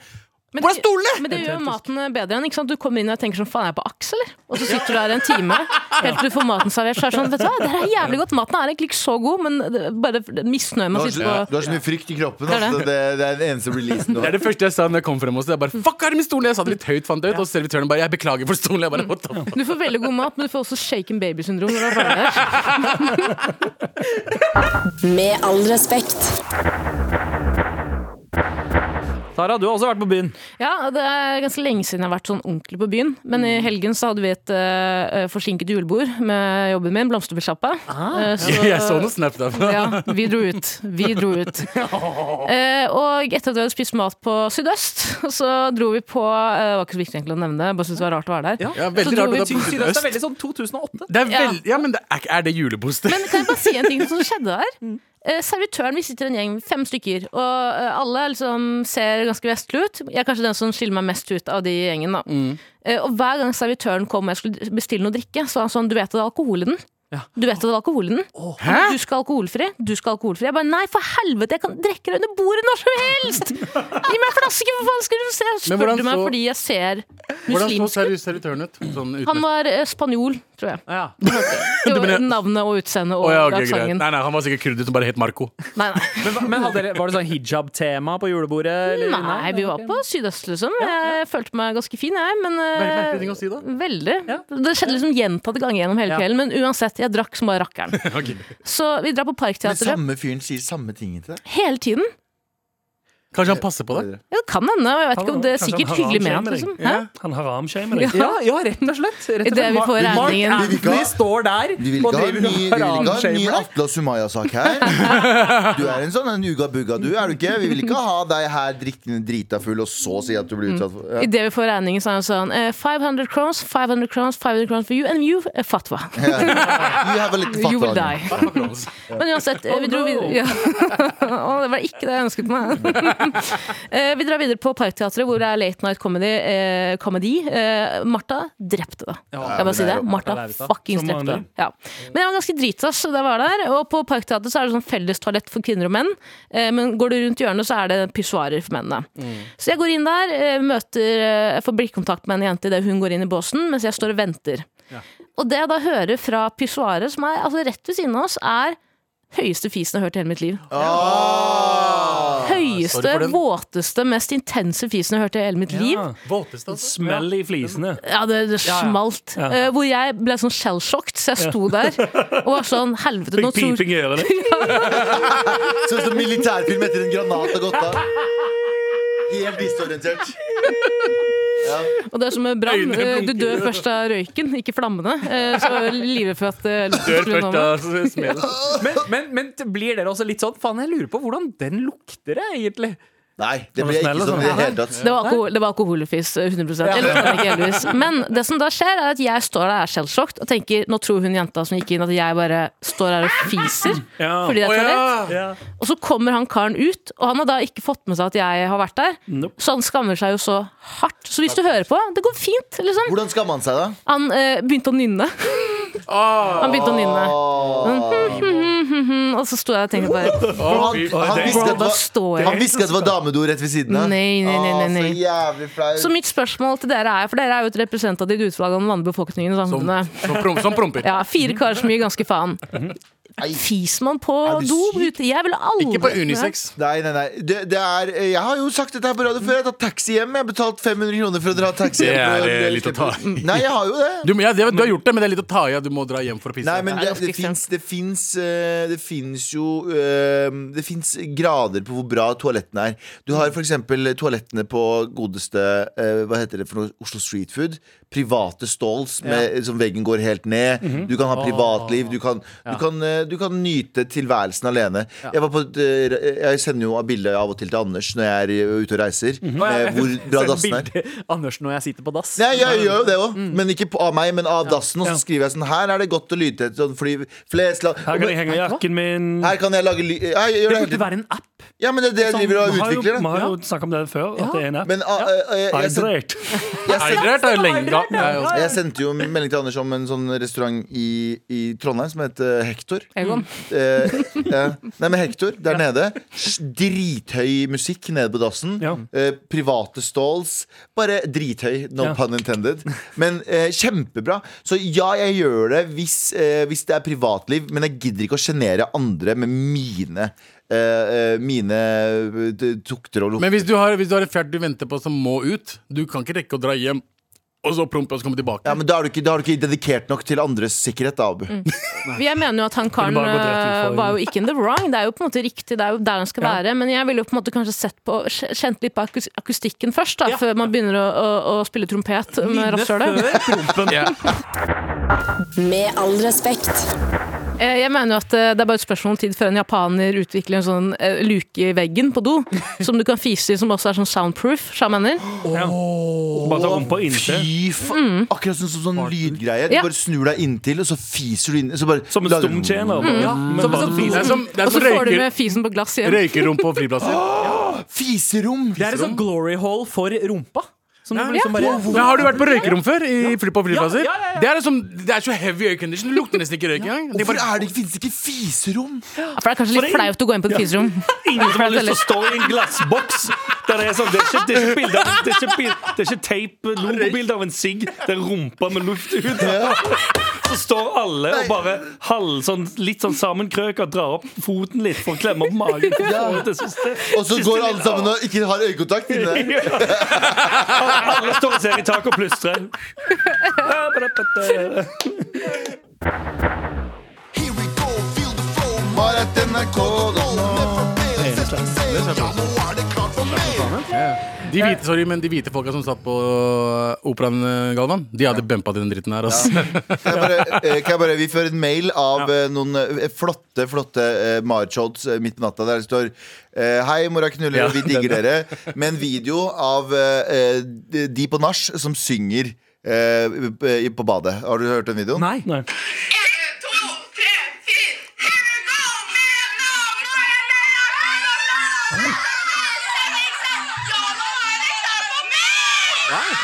[SPEAKER 7] Men
[SPEAKER 4] Hvor
[SPEAKER 7] det-
[SPEAKER 4] er stolene?!
[SPEAKER 7] Men det gjør jo maten bedre igjen. ikke sant? Du kommer inn og tenker sånn, faen, er jeg på aks, eller? Og så sitter du der en time helt til du får maten servert. Så er det sånn, vet du hva, det her er jævlig godt. Maten er egentlig ikke så god, men det- bare
[SPEAKER 2] Du
[SPEAKER 7] misnøye med å
[SPEAKER 2] har, så,
[SPEAKER 7] sitte på
[SPEAKER 2] du har så mye frykt i kroppen.
[SPEAKER 7] Det er det.
[SPEAKER 2] Altså, det, det er den eneste releasen du
[SPEAKER 4] Det
[SPEAKER 2] har.
[SPEAKER 4] er det første jeg sa når jeg kom frem. Også. Jeg bare, Fuck, er det min stol? Jeg sa det litt høyt, fant jeg ut. Og servitøren bare Jeg beklager for stolen. Jeg bare, What the fuck?
[SPEAKER 7] Du får veldig god mat, men du får også shaken baby-syndrom. når du er ferdig
[SPEAKER 4] [LAUGHS]
[SPEAKER 7] der.
[SPEAKER 1] Med all respekt.
[SPEAKER 3] Tara, du har også vært på byen.
[SPEAKER 7] Ja, det er ganske lenge siden jeg har vært sånn ordentlig på byen. Men
[SPEAKER 4] Mm.
[SPEAKER 7] i helgen så hadde vi et eh, forsinket julebord med jobben min, Blomsterbysjappa. Eh,
[SPEAKER 4] Ah. [LAUGHS] Jeg så noen snap derfra.
[SPEAKER 7] [LAUGHS] Ja, vi dro ut. Vi dro ut. Eh, og etter at vi hadde spist mat på Sydøst, [LAUGHS] så dro vi på eh, Det var ikke så viktig egentlig å nevne det, bare syntes det var rart å være der.
[SPEAKER 4] [LAUGHS] Ja, veldig
[SPEAKER 7] Så dro
[SPEAKER 4] rart
[SPEAKER 7] vi
[SPEAKER 4] at det
[SPEAKER 7] til
[SPEAKER 4] er på
[SPEAKER 3] Sydøst er
[SPEAKER 4] øst.
[SPEAKER 3] veldig sånn 2008.
[SPEAKER 4] Det er
[SPEAKER 7] Ja.
[SPEAKER 4] veld, ja, men det er, er det julebord?
[SPEAKER 7] Men kan jeg bare si en ting som skjedde der? Eh, servitøren, Vi sitter en gjeng, fem stykker, og eh, alle liksom ser ganske vestlige ut. Jeg er kanskje den som skiller meg mest ut av de i gjengen. da
[SPEAKER 4] Mm.
[SPEAKER 7] Eh, Og hver gang servitøren kom og jeg skulle bestille noe drikke, så var han sånn Du vet at det er alkohol i den? Du vet at det er alkohol i den? Du skal alkoholfri. Du skal alkoholfri. Jeg bare nei, for helvete, jeg kan drikke deg under bordet når som helst! Gi meg en flaske, for faen! Skal du se? Spør
[SPEAKER 4] hvordan
[SPEAKER 7] du meg
[SPEAKER 4] så-
[SPEAKER 7] fordi jeg ser
[SPEAKER 4] Hvordan så
[SPEAKER 7] muslimsk ut?
[SPEAKER 4] seriøs servitøren ut? Sånn uten-
[SPEAKER 7] Han var eh, spanjol,
[SPEAKER 4] [LAUGHS]
[SPEAKER 7] tror jeg.
[SPEAKER 3] Ja.
[SPEAKER 7] Det var
[SPEAKER 4] mener-
[SPEAKER 7] navnet og utseendet og
[SPEAKER 4] Å, ja, ok, greit.
[SPEAKER 7] aksenten.
[SPEAKER 4] Nei, nei, han var sikkert kurder som bare het Marco.
[SPEAKER 7] Nei, nei.
[SPEAKER 3] Men, hva- men hadde dere, var det sånn hijab-tema på julebordet? Eller?
[SPEAKER 7] Nei, vi var på sydøst, liksom. Jeg følte meg ganske fin, jeg. Men
[SPEAKER 4] Veldig merkelig
[SPEAKER 7] eh,
[SPEAKER 4] ting å si, da.
[SPEAKER 7] veldig. Det skjedde liksom gjentatte ganger gjennom hele
[SPEAKER 3] Ja.
[SPEAKER 7] kvelden. Men uansett, jeg drakk som bare rakkeren.
[SPEAKER 4] Ok.
[SPEAKER 7] Så vi drar på
[SPEAKER 2] Den
[SPEAKER 7] Parkteatret
[SPEAKER 2] samme fyren sier samme tingen til deg.
[SPEAKER 7] hele tiden.
[SPEAKER 3] sånn
[SPEAKER 4] Kanskje han passer på det?
[SPEAKER 7] Ja, det kan hende. og Jeg vet ikke om det er
[SPEAKER 5] Kanskje han
[SPEAKER 7] sikkert
[SPEAKER 5] har
[SPEAKER 7] hyggelig
[SPEAKER 5] en
[SPEAKER 7] ment,
[SPEAKER 5] skjerm i
[SPEAKER 7] liksom.
[SPEAKER 5] deg.
[SPEAKER 7] Hæ?
[SPEAKER 5] Han haram-shamer deg.
[SPEAKER 3] Ja, ja, rett og slett. Rett og
[SPEAKER 7] I det
[SPEAKER 3] slett.
[SPEAKER 7] vi får
[SPEAKER 3] Mark-
[SPEAKER 7] regningen.
[SPEAKER 2] Vi
[SPEAKER 3] Mark
[SPEAKER 2] vil ikke ha-
[SPEAKER 3] Anthony står der
[SPEAKER 2] Vi vil ikke
[SPEAKER 3] og
[SPEAKER 2] ha en
[SPEAKER 3] driver
[SPEAKER 2] ny, vi
[SPEAKER 3] og
[SPEAKER 2] vil ikke ha en ny
[SPEAKER 3] haramshamer deg.
[SPEAKER 2] Atle og Sumaya-sak her.
[SPEAKER 7] [LAUGHS]
[SPEAKER 2] Du er en sånn en uga-bugga, du. Er du ikke? Vi vil ikke ha deg her drikkende drita full, og så si at du blir utsatt for ja.
[SPEAKER 7] I det vi får regningen, så er han sånn eh, 500 crowns, 500 crowns, 500 crowns for you and you, eh, fatwa.
[SPEAKER 2] You have a little
[SPEAKER 7] You will
[SPEAKER 2] fatwa.
[SPEAKER 7] die. [LAUGHS] Men uansett, eh, vi dro videre ja. [LAUGHS] Å, Det var ikke det jeg ønsket meg. [LAUGHS] Eh, vi drar videre på Parkteatret, hvor det er late night comedy. Eh, comedy. Eh, Martha drepte det. jeg bare
[SPEAKER 2] men
[SPEAKER 7] si
[SPEAKER 2] det
[SPEAKER 7] det.
[SPEAKER 2] er jo
[SPEAKER 7] Martha
[SPEAKER 3] Martha Leivestad.
[SPEAKER 7] fuckings
[SPEAKER 5] Som
[SPEAKER 7] drepte det.
[SPEAKER 5] vanlig.
[SPEAKER 7] Ja. Men jeg var ganske drita, så da jeg var der. Og på Parkteatret så er det sånn fellestoalett for kvinner og menn. Eh, men går du rundt hjørnet, så er det pissoarer for mennene. Så jeg går inn der, eh, møter, eh, får blikkontakt med en jente idet hun går inn i båsen, mens jeg står og venter. Og det jeg da hører fra pissoaret, som er altså, rett ved siden av oss, er høyeste fisen jeg har hørt i hele mitt liv.
[SPEAKER 2] Ah!
[SPEAKER 4] sorry
[SPEAKER 7] Høyeste,
[SPEAKER 4] for den.
[SPEAKER 7] våteste, mest intense fisen jeg har hørt i hele mitt liv.
[SPEAKER 4] Våteste, altså.
[SPEAKER 5] Smell i flisene.
[SPEAKER 7] Ja, det, det smalt.
[SPEAKER 5] Ja.
[SPEAKER 7] Eh, hvor jeg ble sånn shell-shocked, så jeg sto der og var sånn Helvete, nå
[SPEAKER 5] Fikk
[SPEAKER 7] tror
[SPEAKER 5] piping i ørene.
[SPEAKER 2] Sånn som militærfilm etter en granat har gått av. Helt disorientert.
[SPEAKER 7] Og det er som med brann.
[SPEAKER 4] Øynene
[SPEAKER 7] eh, Du
[SPEAKER 4] blunker.
[SPEAKER 7] dør først av røyken, ikke flammene. Eh, Så livet for at eh, lukten
[SPEAKER 4] Dør
[SPEAKER 7] skulle nå
[SPEAKER 4] først,
[SPEAKER 7] meg.
[SPEAKER 4] da. Smell.
[SPEAKER 3] Men, men, men blir dere også litt sånn Faen, jeg lurer på hvordan den lukter, jeg, egentlig.
[SPEAKER 2] Nei, det
[SPEAKER 5] Han var
[SPEAKER 2] ble jeg
[SPEAKER 5] snill
[SPEAKER 2] ikke
[SPEAKER 5] og
[SPEAKER 2] sånn i det
[SPEAKER 5] sånn.
[SPEAKER 2] hele tatt.
[SPEAKER 7] Det var, alko det var alkoholfis, eh, 100 Jeg likte den ikke heldigvis. Men det som da skjer, er at jeg står der og er selvsjokkt og tenker nå tror hun jenta som gikk inn, at jeg bare står her og fiser.
[SPEAKER 5] Ja.
[SPEAKER 7] Fordi det er toalett.
[SPEAKER 5] Ja.
[SPEAKER 7] Og så kommer han karen ut, og han har da ikke fått med seg at jeg har vært der.
[SPEAKER 5] Nope.
[SPEAKER 7] Så han skammer seg jo så hardt. Så hvis du hører på, det går fint, liksom.
[SPEAKER 2] Hvordan skammer han seg, da?
[SPEAKER 7] Han eh, begynte å nynne.
[SPEAKER 4] Ah.
[SPEAKER 7] Han begynte å nynne.
[SPEAKER 2] Ah.
[SPEAKER 7] Mm, [LAUGHS] Og så sto jeg og tenkte bare
[SPEAKER 2] For han, han,
[SPEAKER 5] det-
[SPEAKER 2] visste at det
[SPEAKER 7] Da
[SPEAKER 2] var,
[SPEAKER 7] står jeg
[SPEAKER 2] han visste at det var damedo rett ved siden av.
[SPEAKER 7] Nei, nei, nei, nei,
[SPEAKER 2] Å,
[SPEAKER 7] nei.
[SPEAKER 2] Så jævlig flaut.
[SPEAKER 7] Så mitt spørsmål til dere er, for dere er jo et representativt utslag av den vanlige befolkningen i
[SPEAKER 4] Som,
[SPEAKER 7] samfunnet.
[SPEAKER 4] som, prom, som promper.
[SPEAKER 7] Ja, fire karer som gir ganske faen.
[SPEAKER 2] Nei.
[SPEAKER 7] Fiser man på
[SPEAKER 2] Mhm. Er du
[SPEAKER 7] do
[SPEAKER 2] syk?
[SPEAKER 7] ute? Jeg ville aldri
[SPEAKER 4] Ikke på unisex.
[SPEAKER 2] Nei, nei, nei. Det, det er, jeg har jo sagt dette her på radio før. Jeg har tatt taxi hjem. Jeg har betalt 500 kroner for å dra taxi
[SPEAKER 4] Det
[SPEAKER 2] hjem.
[SPEAKER 4] er
[SPEAKER 2] for
[SPEAKER 4] eh, litt å ta i.
[SPEAKER 2] Nei, jeg har jo det.
[SPEAKER 4] Du, men ja, det, du har gjort det, men det er litt å ta i. at Du må dra hjem for å pisse.
[SPEAKER 2] Nei, men
[SPEAKER 7] Det er
[SPEAKER 2] det,
[SPEAKER 7] ganske
[SPEAKER 2] det
[SPEAKER 7] ekstremt.
[SPEAKER 2] fins Det fins eh, det fins jo eh, Det fins grader på hvor bra toalettene er. Du har f.eks. toalettene på godeste eh, Hva heter det for noe? Oslo Street Food. Private stalls med, som veggen går helt ned.
[SPEAKER 7] Mhm.
[SPEAKER 2] Du kan ha privatliv. Du kan, du kan, eh, du kan nyte tilværelsen alene. Jeg, var på et, eh, jeg sender jo bilde av og til til Anders når jeg er ute og reiser.
[SPEAKER 7] Mhm.
[SPEAKER 2] med Hvor
[SPEAKER 7] [LAUGHS]
[SPEAKER 2] bra dassen er.
[SPEAKER 3] Anders når jeg sitter på dass.
[SPEAKER 2] Nei, jeg gjør jo det òg,
[SPEAKER 5] Mm.
[SPEAKER 2] men ikke på, av meg, men av dassen. Og så skriver jeg sånn Her er det godt å lyde etter sånn fly flest la
[SPEAKER 5] Her kan jeg henge jakken min.
[SPEAKER 2] her kan jeg lage ly... Her, jeg gjør
[SPEAKER 3] Det
[SPEAKER 2] det hele
[SPEAKER 3] burde
[SPEAKER 2] tiden.
[SPEAKER 3] være en app.
[SPEAKER 2] Ja, men det er det jeg driver og
[SPEAKER 5] Vi Sånn, har jo,
[SPEAKER 2] utvikler.
[SPEAKER 5] vi
[SPEAKER 2] Da.
[SPEAKER 5] har jo snakket om det før, at det er en app.
[SPEAKER 2] Men ah, eh, eh, jeg, send,
[SPEAKER 5] Hydrert.
[SPEAKER 4] Hydrert er altså. lenge ja, ja.
[SPEAKER 2] jeg sendte jo en melding til Anders om en sånn restaurant i, i Trondheim som heter Hector.
[SPEAKER 7] Egon.
[SPEAKER 2] Eh, ja. Nei, men Hector der nede. s- Drithøy musikk nede på dassen.
[SPEAKER 5] Ja.
[SPEAKER 2] Eh, private stalls. Bare drithøy, no
[SPEAKER 5] Ja.
[SPEAKER 2] pun intended. Men eh, kjempebra. Så ja, jeg gjør det hvis, eh, hvis det er privatliv, men jeg gidder ikke å sjenere andre med mine eh, eh, Mine eh, tukter og lukter.
[SPEAKER 4] Men hvis du, har, hvis du har en fjert du venter på som må ut, du kan ikke rekke å dra hjem, og så prompe og så komme tilbake.
[SPEAKER 2] Ja, men da er, du ikke, da er du ikke dedikert nok til andres sikkerhet, da, Abu.
[SPEAKER 5] Mm.
[SPEAKER 7] Jeg mener jo at han karen
[SPEAKER 5] Kunne bare gått rett ut for-
[SPEAKER 7] eh, var jo ikke in the wrong. Det er jo på en måte riktig, det er jo der han skal
[SPEAKER 5] Ja.
[SPEAKER 7] være. Men jeg ville jo på en måte kanskje sett på kj- kjent litt på akus- akustikken først, da, før man begynner å, å, å spille trompet med rasshølet.
[SPEAKER 4] Ja.
[SPEAKER 1] Med all respekt.
[SPEAKER 7] Eh, Jeg mener jo at eh, det er bare et spørsmål om tid før en japaner utvikler en sånn eh, luke i veggen på
[SPEAKER 4] [LAUGHS]
[SPEAKER 7] do, som du kan fise i, som også er sånn soundproof. skjønner du hva jeg mener.
[SPEAKER 5] Ja. Bare ta rumpa inntil. Mm.
[SPEAKER 2] Fy faen! Akkurat som sånn, sånn lydgreie. Du
[SPEAKER 7] Ja.
[SPEAKER 2] bare snur deg inntil, og så fiser du inn. Så bare,
[SPEAKER 5] Som en
[SPEAKER 2] lager-
[SPEAKER 5] stumtjener. bare. Men
[SPEAKER 3] liksom
[SPEAKER 5] bare
[SPEAKER 4] Det er som, det er
[SPEAKER 7] Og så
[SPEAKER 4] som
[SPEAKER 7] får du
[SPEAKER 4] røyker,
[SPEAKER 7] med fisen på glass igjen.
[SPEAKER 4] røykerom på flyplasser.
[SPEAKER 2] Fiserom!
[SPEAKER 3] Det er et sånt glory hall for rumpa. Som du liksom bare
[SPEAKER 4] Men har du vært på røykerom før? I fly på flyplasser?
[SPEAKER 3] Ja, ja, ja, ja.
[SPEAKER 4] Det, er liksom, det er så heavy aircondition. Det lukter nesten ikke røyk engang. Det er
[SPEAKER 2] Hvorfor
[SPEAKER 4] bare-
[SPEAKER 2] er det, finnes det ikke fiserom?
[SPEAKER 7] For det er kanskje litt flaut å gå inn på et fiserom.
[SPEAKER 5] Ingen som har lyst til å stå i en glassboks. Der det, er sånn, det, er ikke, det er ikke bilder Det er ikke, bil- det er ikke tape, logobilde av en sigg. Det er rumpa med luft ut. Så står alle og bare halv, sånn, litt sånn sammenkrøka, drar opp foten litt for å klemme opp magen. For å få ut det siste-
[SPEAKER 2] Og så
[SPEAKER 5] siste
[SPEAKER 2] går alle
[SPEAKER 5] lille-
[SPEAKER 2] sammen og ikke har øyekontakt inne der.
[SPEAKER 5] Alle står og ser i taket og plystrer.
[SPEAKER 2] Bare at NRK da, nå.
[SPEAKER 4] De hvite, sorry, men de hvite folka som satt på operaen, eh, Galvan, de hadde bumpa til den dritten her. altså. ass.
[SPEAKER 2] Kan jeg bare, eh, kan jeg bare, vi får en mail av eh, noen eh, flotte flotte eh, Marchods eh, midt på natta der det står eh, Hei, mora knuller,
[SPEAKER 4] Ja,
[SPEAKER 2] vi digger dere. Med en video av eh, eh, de på nach som synger eh, i- på badet. Har du hørt den videoen?
[SPEAKER 3] Nei.
[SPEAKER 5] Nei.
[SPEAKER 4] [LAUGHS]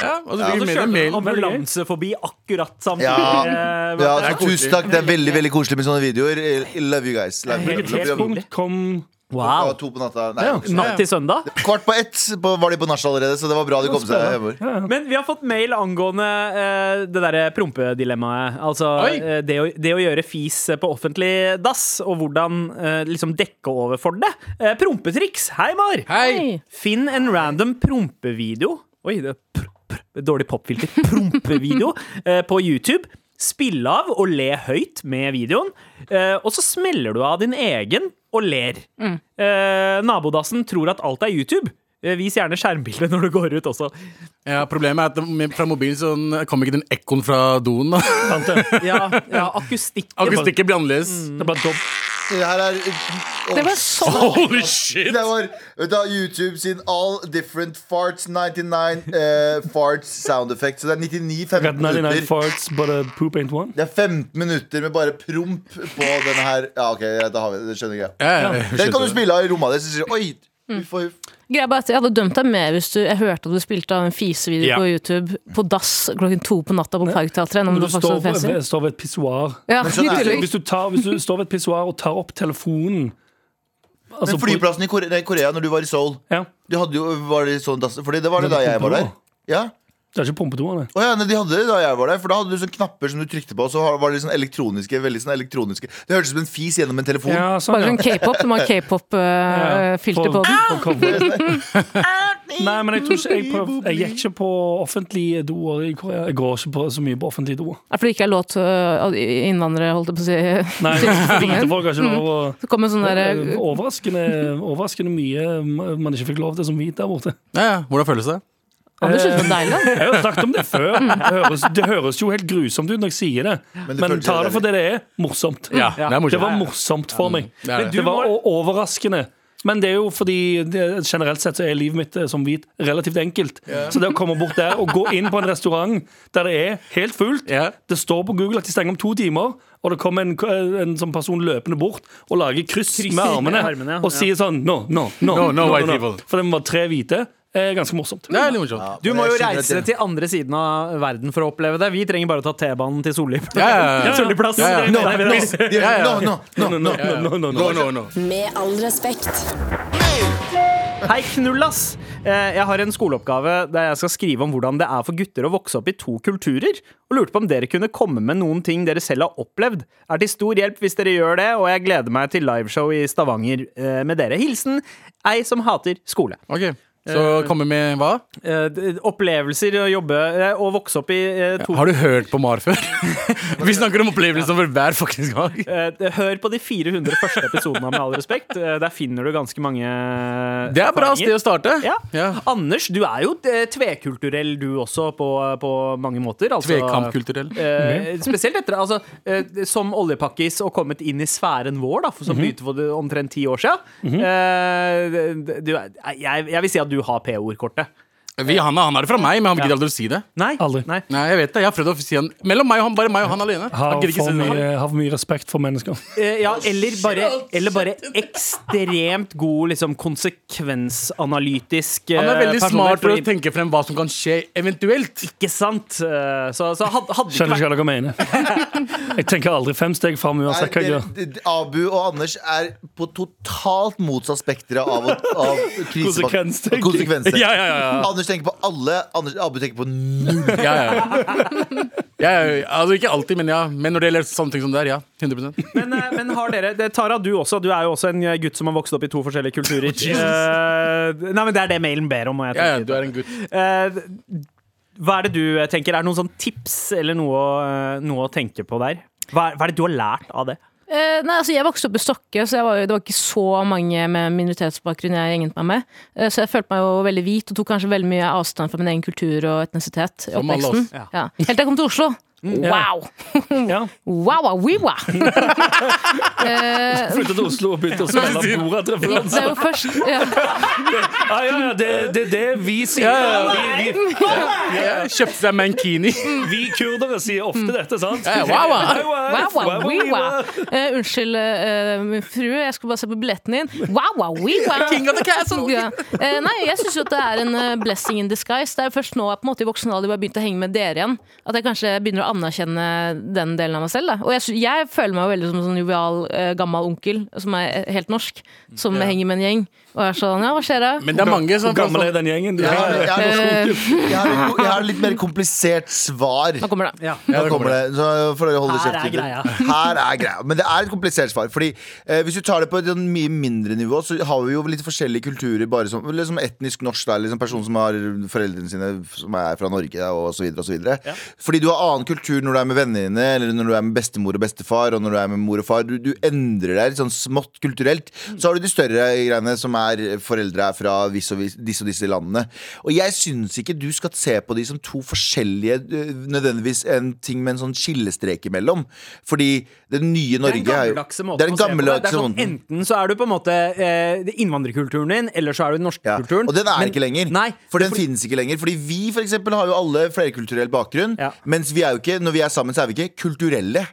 [SPEAKER 4] Ja, og så
[SPEAKER 3] Ja,
[SPEAKER 4] fikk
[SPEAKER 3] så
[SPEAKER 4] vi med
[SPEAKER 3] kjørte den
[SPEAKER 4] en mail.
[SPEAKER 3] ambulanse forbi akkurat samtidig.
[SPEAKER 2] Ja.
[SPEAKER 3] Eh,
[SPEAKER 2] Ja,
[SPEAKER 3] det er
[SPEAKER 2] så tusen takk. Det er veldig veldig koselig med sånne videoer. I love you guys. Love, you,
[SPEAKER 5] Hvilket
[SPEAKER 2] love, you, love, you.
[SPEAKER 5] tidspunkt kom
[SPEAKER 2] Ja,
[SPEAKER 3] Wow.
[SPEAKER 2] to på natta. Nei, ok.
[SPEAKER 3] Natt til søndag.
[SPEAKER 2] Kvart på ett på- var de på nach allerede, så det var bra de kom seg hjemover.
[SPEAKER 3] Men vi har fått mail angående eh, det derre prompedilemmaet. Altså
[SPEAKER 4] Oi.
[SPEAKER 3] eh, det, å, det å gjøre fis på offentlig dass, og hvordan eh, liksom dekke over for det. Eh, prompetriks. Hei, Mar!
[SPEAKER 4] Hei!
[SPEAKER 3] Finn en random prompevideo. Oi, det er pr pr dårlig popfilter. Prompevideo [LAUGHS] eh, på YouTube. Spill av og le høyt med videoen. Eh, og så smeller du av din egen og ler. Eh, nabodassen tror at alt er YouTube. Eh, Vis gjerne skjermbildet når du går ut også.
[SPEAKER 4] Ja, problemet er at med- fra mobilen så kom ikke den
[SPEAKER 3] [LAUGHS]
[SPEAKER 4] ekkoen fra doen. da.
[SPEAKER 5] Tante.
[SPEAKER 3] Ja, ja akustikken.
[SPEAKER 4] Akustikken blir annerledes.
[SPEAKER 3] Mm.
[SPEAKER 5] Det er bare dob
[SPEAKER 2] Her er
[SPEAKER 7] Det var så
[SPEAKER 4] Holy shit!
[SPEAKER 2] Det var vet du, hva, YouTube sin All Different Farts 99 eh, Farts Sound Effect. Så det er 99
[SPEAKER 5] Got
[SPEAKER 2] 15
[SPEAKER 5] 99
[SPEAKER 2] minutter.
[SPEAKER 5] farts, but a poop ain't one.
[SPEAKER 2] Det er 15 minutter med bare promp på den her. Ja, ok, greit, da har vi det. Det skjønner jeg.
[SPEAKER 4] Ja,
[SPEAKER 2] Den
[SPEAKER 4] ja, jeg
[SPEAKER 2] kan
[SPEAKER 4] skjønte
[SPEAKER 2] du
[SPEAKER 4] det.
[SPEAKER 2] spille av i rommet ditt. Så sier du oi, uff, uff.
[SPEAKER 7] Greia bare at Jeg hadde dømt deg mer hvis du, jeg hørte at du spilte av en fisevideo
[SPEAKER 5] Ja.
[SPEAKER 7] på YouTube på dass klokken to på natta på Parkteatret. Når
[SPEAKER 5] Når
[SPEAKER 7] du
[SPEAKER 5] du
[SPEAKER 7] sånn faktisk
[SPEAKER 5] står
[SPEAKER 7] hadde PC.
[SPEAKER 5] ved, står ved et pissoar
[SPEAKER 7] Ja, i
[SPEAKER 2] sånn er det.
[SPEAKER 7] tillegg.
[SPEAKER 5] hvis, du tar- hvis du står ved et pissoar og tar opp telefonen altså,
[SPEAKER 2] Men flyplassen i Korea, nei, Korea når du var i Seoul
[SPEAKER 5] Ja,
[SPEAKER 2] De hadde jo, var det sånn dass Fordi det var det
[SPEAKER 5] Men
[SPEAKER 2] da
[SPEAKER 5] det
[SPEAKER 2] jeg var der.
[SPEAKER 5] pumper nå.
[SPEAKER 2] Ja
[SPEAKER 5] det er ikke pumpedoene.
[SPEAKER 2] Å ja, nei, de hadde det da jeg var der, for da hadde du sånne knapper som du trykte på, og så var det litt sånn elektroniske, veldig sånn elektroniske. Det hørtes ut som en fis gjennom en telefon.
[SPEAKER 5] Ja, sånn,
[SPEAKER 7] Bare sånn K-pop. Du må ha
[SPEAKER 5] Ja,
[SPEAKER 7] K-pop-filter på den.
[SPEAKER 5] [LAUGHS] for- for cover. Nei, men jeg tror ikke jeg, prøv, jeg gikk ikke på offentlige doer i Korea. Jeg går ikke på så mye på offentlige doer.
[SPEAKER 7] Er det fordi det ikke er lov til øh, innvandrere, holdt jeg på å si. [LAUGHS]
[SPEAKER 5] [LAUGHS] Nei, Eh, hvite folk har ikke lov å
[SPEAKER 7] Det kommer sånn der
[SPEAKER 5] Det er overraskende, overraskende mye man ikke fikk lov til som hvit der borte.
[SPEAKER 4] Ja, ja. Hvordan føles det?
[SPEAKER 7] Å, Det skjønner jeg deilig. da.
[SPEAKER 5] Jeg har jo snakket om det før. Det høres, det høres jo helt grusomt ut når jeg sier det,
[SPEAKER 2] Men
[SPEAKER 5] men,
[SPEAKER 2] det føles
[SPEAKER 5] ta
[SPEAKER 2] jo
[SPEAKER 5] det for det det er. Morsomt.
[SPEAKER 4] Ja, det er morsomt.
[SPEAKER 5] var morsomt for meg.
[SPEAKER 4] det er det.
[SPEAKER 5] det. var o- overraskende. Men det er jo fordi det, generelt sett så er livet mitt eh, som hvit relativt enkelt. Så det å komme bort der og gå inn på en restaurant der det er helt fullt
[SPEAKER 4] Ja.
[SPEAKER 5] Det står på Google at de stenger om to timer, og det kommer en, en sånn person løpende bort og lager kryss, med armene,
[SPEAKER 3] med armene, ja.
[SPEAKER 5] og sier sånn No, no, no.
[SPEAKER 4] No, no, white people.
[SPEAKER 5] For det var tre hvite. Eh, ganske morsomt.
[SPEAKER 3] Mm.
[SPEAKER 4] Det er litt morsomt.
[SPEAKER 3] Du må jo
[SPEAKER 2] Jeg skjønner
[SPEAKER 3] reise
[SPEAKER 2] at det-
[SPEAKER 3] til andre siden av verden for å oppleve det. Vi trenger bare å ta T-banen til Solli.
[SPEAKER 4] Ja, ja,
[SPEAKER 3] [LAUGHS]
[SPEAKER 4] ja.
[SPEAKER 3] Solli plass.
[SPEAKER 4] Ja, ja.
[SPEAKER 3] Nei, nei, nei.
[SPEAKER 4] Ja, ja.
[SPEAKER 2] Nå, nå, nå, nå.
[SPEAKER 5] no, no,
[SPEAKER 4] No, no, no.
[SPEAKER 1] Med all respekt.
[SPEAKER 3] Hei, knullas! Eh, Jeg har en skoleoppgave der jeg skal skrive om hvordan det er for gutter å vokse opp i to kulturer, og lurte på om dere kunne komme med noen ting dere selv har opplevd. Er til stor hjelp hvis dere gjør det, og jeg gleder meg til liveshow i Stavanger eh, med dere. Hilsen ei som hater skole.
[SPEAKER 4] Ok, så kommer med hva?
[SPEAKER 3] Eh, d- Opplevelser å jobbe eh, og vokse opp i eh, to
[SPEAKER 4] Har du hørt på Mar før? [LAUGHS] Vi snakker om opplevelser for hver fuckings gang.
[SPEAKER 3] Eh, Hør på de 400 første episodene av Med all respekt. Eh, Der finner du ganske mange eh,
[SPEAKER 4] Det er bra sted å starte.
[SPEAKER 3] Ja.
[SPEAKER 4] Ja.
[SPEAKER 3] Anders, du er jo eh, tvekulturell du også, på, på mange måter. Altså,
[SPEAKER 4] Tvekampkulturell.
[SPEAKER 3] Eh,
[SPEAKER 4] Mm.
[SPEAKER 3] spesielt etter altså, eh, Som oljepakkis og kommet inn i sfæren vår, da, for
[SPEAKER 4] Mhm.
[SPEAKER 3] som begynte for det omtrent ti år siden. Eh, du, er- jeg, jeg vil si at du har P-ordkortet.
[SPEAKER 4] Vi, han, han har det fra meg, men han gidder aldri å si det.
[SPEAKER 3] Nei.
[SPEAKER 5] Aldri.
[SPEAKER 3] Nei.
[SPEAKER 4] Nei, jeg vet det, jeg har prøvd å si han Mellom meg og han, bare meg og han alene. Han
[SPEAKER 5] Har
[SPEAKER 4] gidder ikke
[SPEAKER 5] for
[SPEAKER 4] si det.
[SPEAKER 5] mye, har for mye respekt for mennesker.
[SPEAKER 3] Eh, ja, eller bare, eller bare ekstremt god liksom, konsekvensanalytisk
[SPEAKER 4] Han er
[SPEAKER 3] eh,
[SPEAKER 4] veldig
[SPEAKER 3] personlighet,
[SPEAKER 4] smart til å
[SPEAKER 3] fordi-
[SPEAKER 4] tenke frem hva som kan skje eventuelt.
[SPEAKER 3] Ikke sant? Eh, Så, så had, hadde det ikke
[SPEAKER 5] Skjønner
[SPEAKER 3] vært
[SPEAKER 5] ikke hva dere mener. Jeg tenker aldri fem steg fram
[SPEAKER 2] Nei,
[SPEAKER 5] uansett hva jeg
[SPEAKER 2] dere-
[SPEAKER 5] gjør.
[SPEAKER 2] d- Abu og Anders er på totalt motsatt spekter av, av krise-
[SPEAKER 5] Konsekvenstenking.
[SPEAKER 2] konsekvenser.
[SPEAKER 4] Ja, ja, ja, ja.
[SPEAKER 2] Anders tenker på alle. Anders, Abu tenker på null.
[SPEAKER 4] Ja, ja, ja. Ja, ja, altså ikke alltid, men ja. Men når det gjelder sånne ting som det er, ja. 100
[SPEAKER 3] men, eh, men har dere det, Tara, du også. Du er jo også en eh, gutt som har vokst opp i to forskjellige [LAUGHS] kulturer. Eh, nei, men Det er det mailen ber om. Og jeg
[SPEAKER 4] Ja, ja,
[SPEAKER 3] tenker.
[SPEAKER 4] du er en gutt.
[SPEAKER 3] Eh, hva er det du eh, tenker? Er det noen sånn tips eller noe, å- noe å tenke på der? Hva er, hva er det du har lært av det?
[SPEAKER 7] Eh, nei, altså Jeg vokste opp i Stokke, så jeg var jo, det var ikke så mange med minoritetsbakgrunn jeg gjenget meg med. Eh, så jeg følte meg jo veldig hvit og tok kanskje veldig mye avstand fra min egen kultur og etnisitet. i
[SPEAKER 4] Som alle oss.
[SPEAKER 7] oppveksten. Ja. Helt til jeg kom til Oslo. Wow! [LAUGHS]
[SPEAKER 5] Ja.
[SPEAKER 7] Wow, wow, wee, wow. Eh,
[SPEAKER 5] Flyttet til Oslo og begynte å spille
[SPEAKER 7] det
[SPEAKER 5] Borat-referanser.
[SPEAKER 7] er jo først ja.
[SPEAKER 5] Ja, ja, ja, det det er det vi sier. Vi, vi,
[SPEAKER 4] Ja, Kjøpte deg mankini.
[SPEAKER 5] [LAUGHS] vi kurdere sier ofte dette, sant?
[SPEAKER 4] Ja, wow, wow.
[SPEAKER 7] Wow, wow, wee,
[SPEAKER 5] wee,
[SPEAKER 7] wow. Eh, unnskyld, eh, min frue, jeg skulle bare se på billetten din. Wow, wow, [LAUGHS] wee, wow. King of the castle. Ja. Eh, nei, jeg syns jo at det er en eh, blessing in disguise. Det er først nå på en måte i voksen alder hvor jeg har begynt å henge med dere igjen, at jeg kanskje begynner å anerkjenne den delen av meg selv. Da. Og jeg, sy- jeg føler meg jo veldig som en sånn jovial, eh, gammel onkel som er eh, helt norsk, som henger med en gjeng. Og er sånn, ja, hva skjer da?
[SPEAKER 4] Men det er mange som
[SPEAKER 5] Hvor gammel er den gjengen?
[SPEAKER 2] Jeg har, jeg, har,
[SPEAKER 7] Eh.
[SPEAKER 2] jeg, har, et- jeg har et litt mer komplisert svar.
[SPEAKER 7] Nå kommer det.
[SPEAKER 4] Ja,
[SPEAKER 2] Her kommer
[SPEAKER 4] det kommer det.
[SPEAKER 2] det. Så får dere holde
[SPEAKER 3] Her er
[SPEAKER 2] kjeft, gutter.
[SPEAKER 3] greia. [LAUGHS]
[SPEAKER 2] Her er greia. Men det er et komplisert svar. Fordi eh, Hvis du tar det på et sånn mye mindre nivå, så har vi jo litt forskjellige kulturer. Bare som, eller som etnisk norsk, da, eller som person som har foreldrene sine som er fra Norge, da, og så videre. Og så videre. Fordi du har annen kultur når du er med vennene dine, eller når du er med bestemor og bestefar, og når du er med mor og far. Du, du endrer deg litt sånn smått kulturelt. Så har du de større greiene som er foreldre er fra viss og viss, disse og disse landene. Og jeg syns ikke du skal se på de som to forskjellige øh, Nødvendigvis en ting med en sånn skillestrek imellom. Fordi det nye Norge
[SPEAKER 3] Det er
[SPEAKER 2] jo-
[SPEAKER 3] den gammeldagse måten
[SPEAKER 2] Det er den
[SPEAKER 3] å se på det. Det
[SPEAKER 2] gammeldagse
[SPEAKER 3] er sånn,
[SPEAKER 2] måten.
[SPEAKER 3] Enten så er du på en måte eh, det innvandrerkulturen din, eller så er du den norske
[SPEAKER 2] Ja.
[SPEAKER 3] kulturen.
[SPEAKER 2] Og den er
[SPEAKER 3] Men-
[SPEAKER 2] ikke lenger.
[SPEAKER 3] Nei,
[SPEAKER 2] for den
[SPEAKER 3] fordi-
[SPEAKER 2] finnes ikke lenger. Fordi vi for eksempel, har jo alle flerkulturell bakgrunn.
[SPEAKER 3] Ja. Mm.
[SPEAKER 2] Mens vi er jo ikke, når vi er sammen, så er vi ikke kulturelle.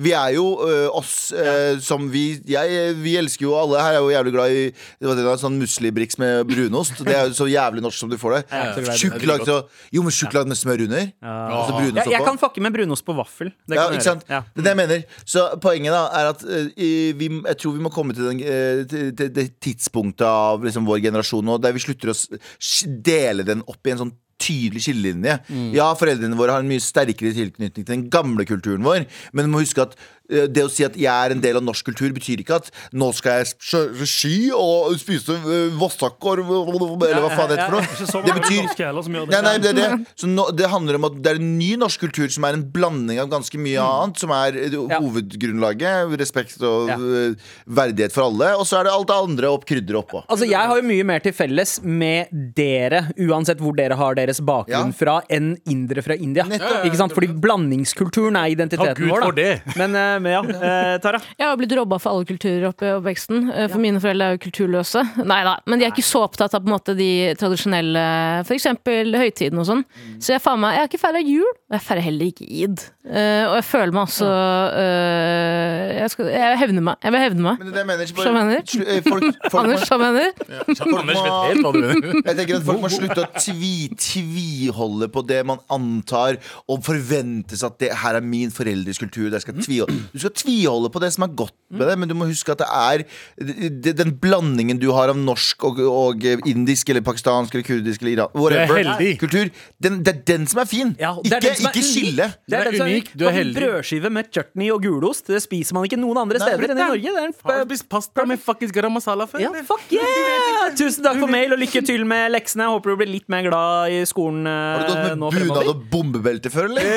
[SPEAKER 2] Vi er jo ø, oss ø, som vi jeg, øh, Vi elsker jo alle. Her er jo jævlig glad i det var det der, sånn muslibriks med brunost. Det er jo så jævlig norsk som du får det.
[SPEAKER 3] Ja, ja.
[SPEAKER 2] Tjukk lag så- Jo, men tjukk lag med smør under. Og så brunost
[SPEAKER 3] ja, jeg
[SPEAKER 2] oppå.
[SPEAKER 3] kan fucke med brunost på vaffel. Det
[SPEAKER 2] Ja,
[SPEAKER 3] kan
[SPEAKER 2] ikke
[SPEAKER 3] jeg gjøre.
[SPEAKER 2] sant? Det er det jeg mener. Så poenget da er at eh, i- vi, jeg tror vi må komme til, den, eh, til, til det tidspunktet av liksom, vår generasjon nå der vi slutter å s- sk- dele den opp i en sånn tydelig skillelinje. Ja, foreldrene våre har en mye sterkere tilknytning til den gamle kulturen vår, men du må huske at eh, det å si at jeg er en del av norsk kultur, betyr ikke at nå skal jeg kjøre ski og spise eh, vossakkorv eller hva faen det heter
[SPEAKER 5] Det er ikke
[SPEAKER 2] for
[SPEAKER 5] så
[SPEAKER 2] noe. Det
[SPEAKER 5] mange
[SPEAKER 2] betyr
[SPEAKER 5] norske heller som gjør
[SPEAKER 2] Nei,
[SPEAKER 5] det.
[SPEAKER 2] nei, det, er det. Så nå, det handler om at det er en ny norsk kultur som er en blanding av ganske mye annet, som er eh, hovedgrunnlaget. Respekt og
[SPEAKER 3] Ja.
[SPEAKER 2] eh, verdighet for alle. Og så er det alt det andre og krydderet oppå.
[SPEAKER 3] Altså, Jeg har jo mye mer til felles med dere, uansett hvor dere har deres bakgrunn
[SPEAKER 2] Ja.
[SPEAKER 3] fra, enn indere fra India. Ikke sant? Fordi blandingskulturen er
[SPEAKER 4] Takk
[SPEAKER 3] identiteten
[SPEAKER 4] Gud
[SPEAKER 3] vår. da.
[SPEAKER 4] for det.
[SPEAKER 3] [LAUGHS] Men, eh, men ja, eh, Tara.
[SPEAKER 7] Jeg har blitt robba for alle kulturer oppe i oppveksten. eh, For mine foreldre er jo kulturløse. [LAUGHS] Nei da, men de er ikke så opptatt av på en måte de tradisjonelle, f.eks. høytiden og sånn. Så jeg, faen meg, jeg har ikke feira jul, og jeg feirer heller ikke id. Eh, og jeg føler meg også eh, jeg, skal, jeg hevner meg. Jeg vil hevne meg.
[SPEAKER 2] Men det er det jeg mener, ikke
[SPEAKER 7] Som
[SPEAKER 2] bare,
[SPEAKER 7] mener?
[SPEAKER 2] slu- eh, folk, folk,
[SPEAKER 7] Anders, hva mener du?
[SPEAKER 2] må, folk må,
[SPEAKER 4] Helt hva du mener.
[SPEAKER 2] jeg tenker at folk må slutte å tvi, tviholde på det man antar, og forventes at det her er min foreldres kultur. Der skal jeg tviholde. Du skal tviholde på det som er godt med det, men du må huske at det er det- den blandingen du har av norsk og, og indisk eller pakistansk eller kurdisk eller iran, whatever,
[SPEAKER 4] Du er heldig.
[SPEAKER 2] kultur, den, det er den som er fin.
[SPEAKER 3] Ja, det er
[SPEAKER 2] ikke
[SPEAKER 3] den som er
[SPEAKER 2] ikke skille.
[SPEAKER 3] unik. Det er,
[SPEAKER 4] Den er
[SPEAKER 3] den som
[SPEAKER 4] unik, du er
[SPEAKER 3] Kan
[SPEAKER 4] heldig.
[SPEAKER 3] Brødskive med chutney og gulost, det spiser man ikke noen andre
[SPEAKER 2] Nei,
[SPEAKER 3] steder enn i Norge. Det er en
[SPEAKER 4] [LAUGHS] Har du spist pasta med fuckings garam masala før?
[SPEAKER 3] ja,
[SPEAKER 4] eller?
[SPEAKER 2] [LAUGHS]
[SPEAKER 3] fuck yeah! Tusen takk for mail, og lykke til med leksene. Jeg håper du blir litt mer glad i skolen
[SPEAKER 2] Har du
[SPEAKER 3] eh,
[SPEAKER 2] gått
[SPEAKER 3] nå
[SPEAKER 2] med bunad
[SPEAKER 3] fremover. Eh.
[SPEAKER 2] og bombebelte før, eller?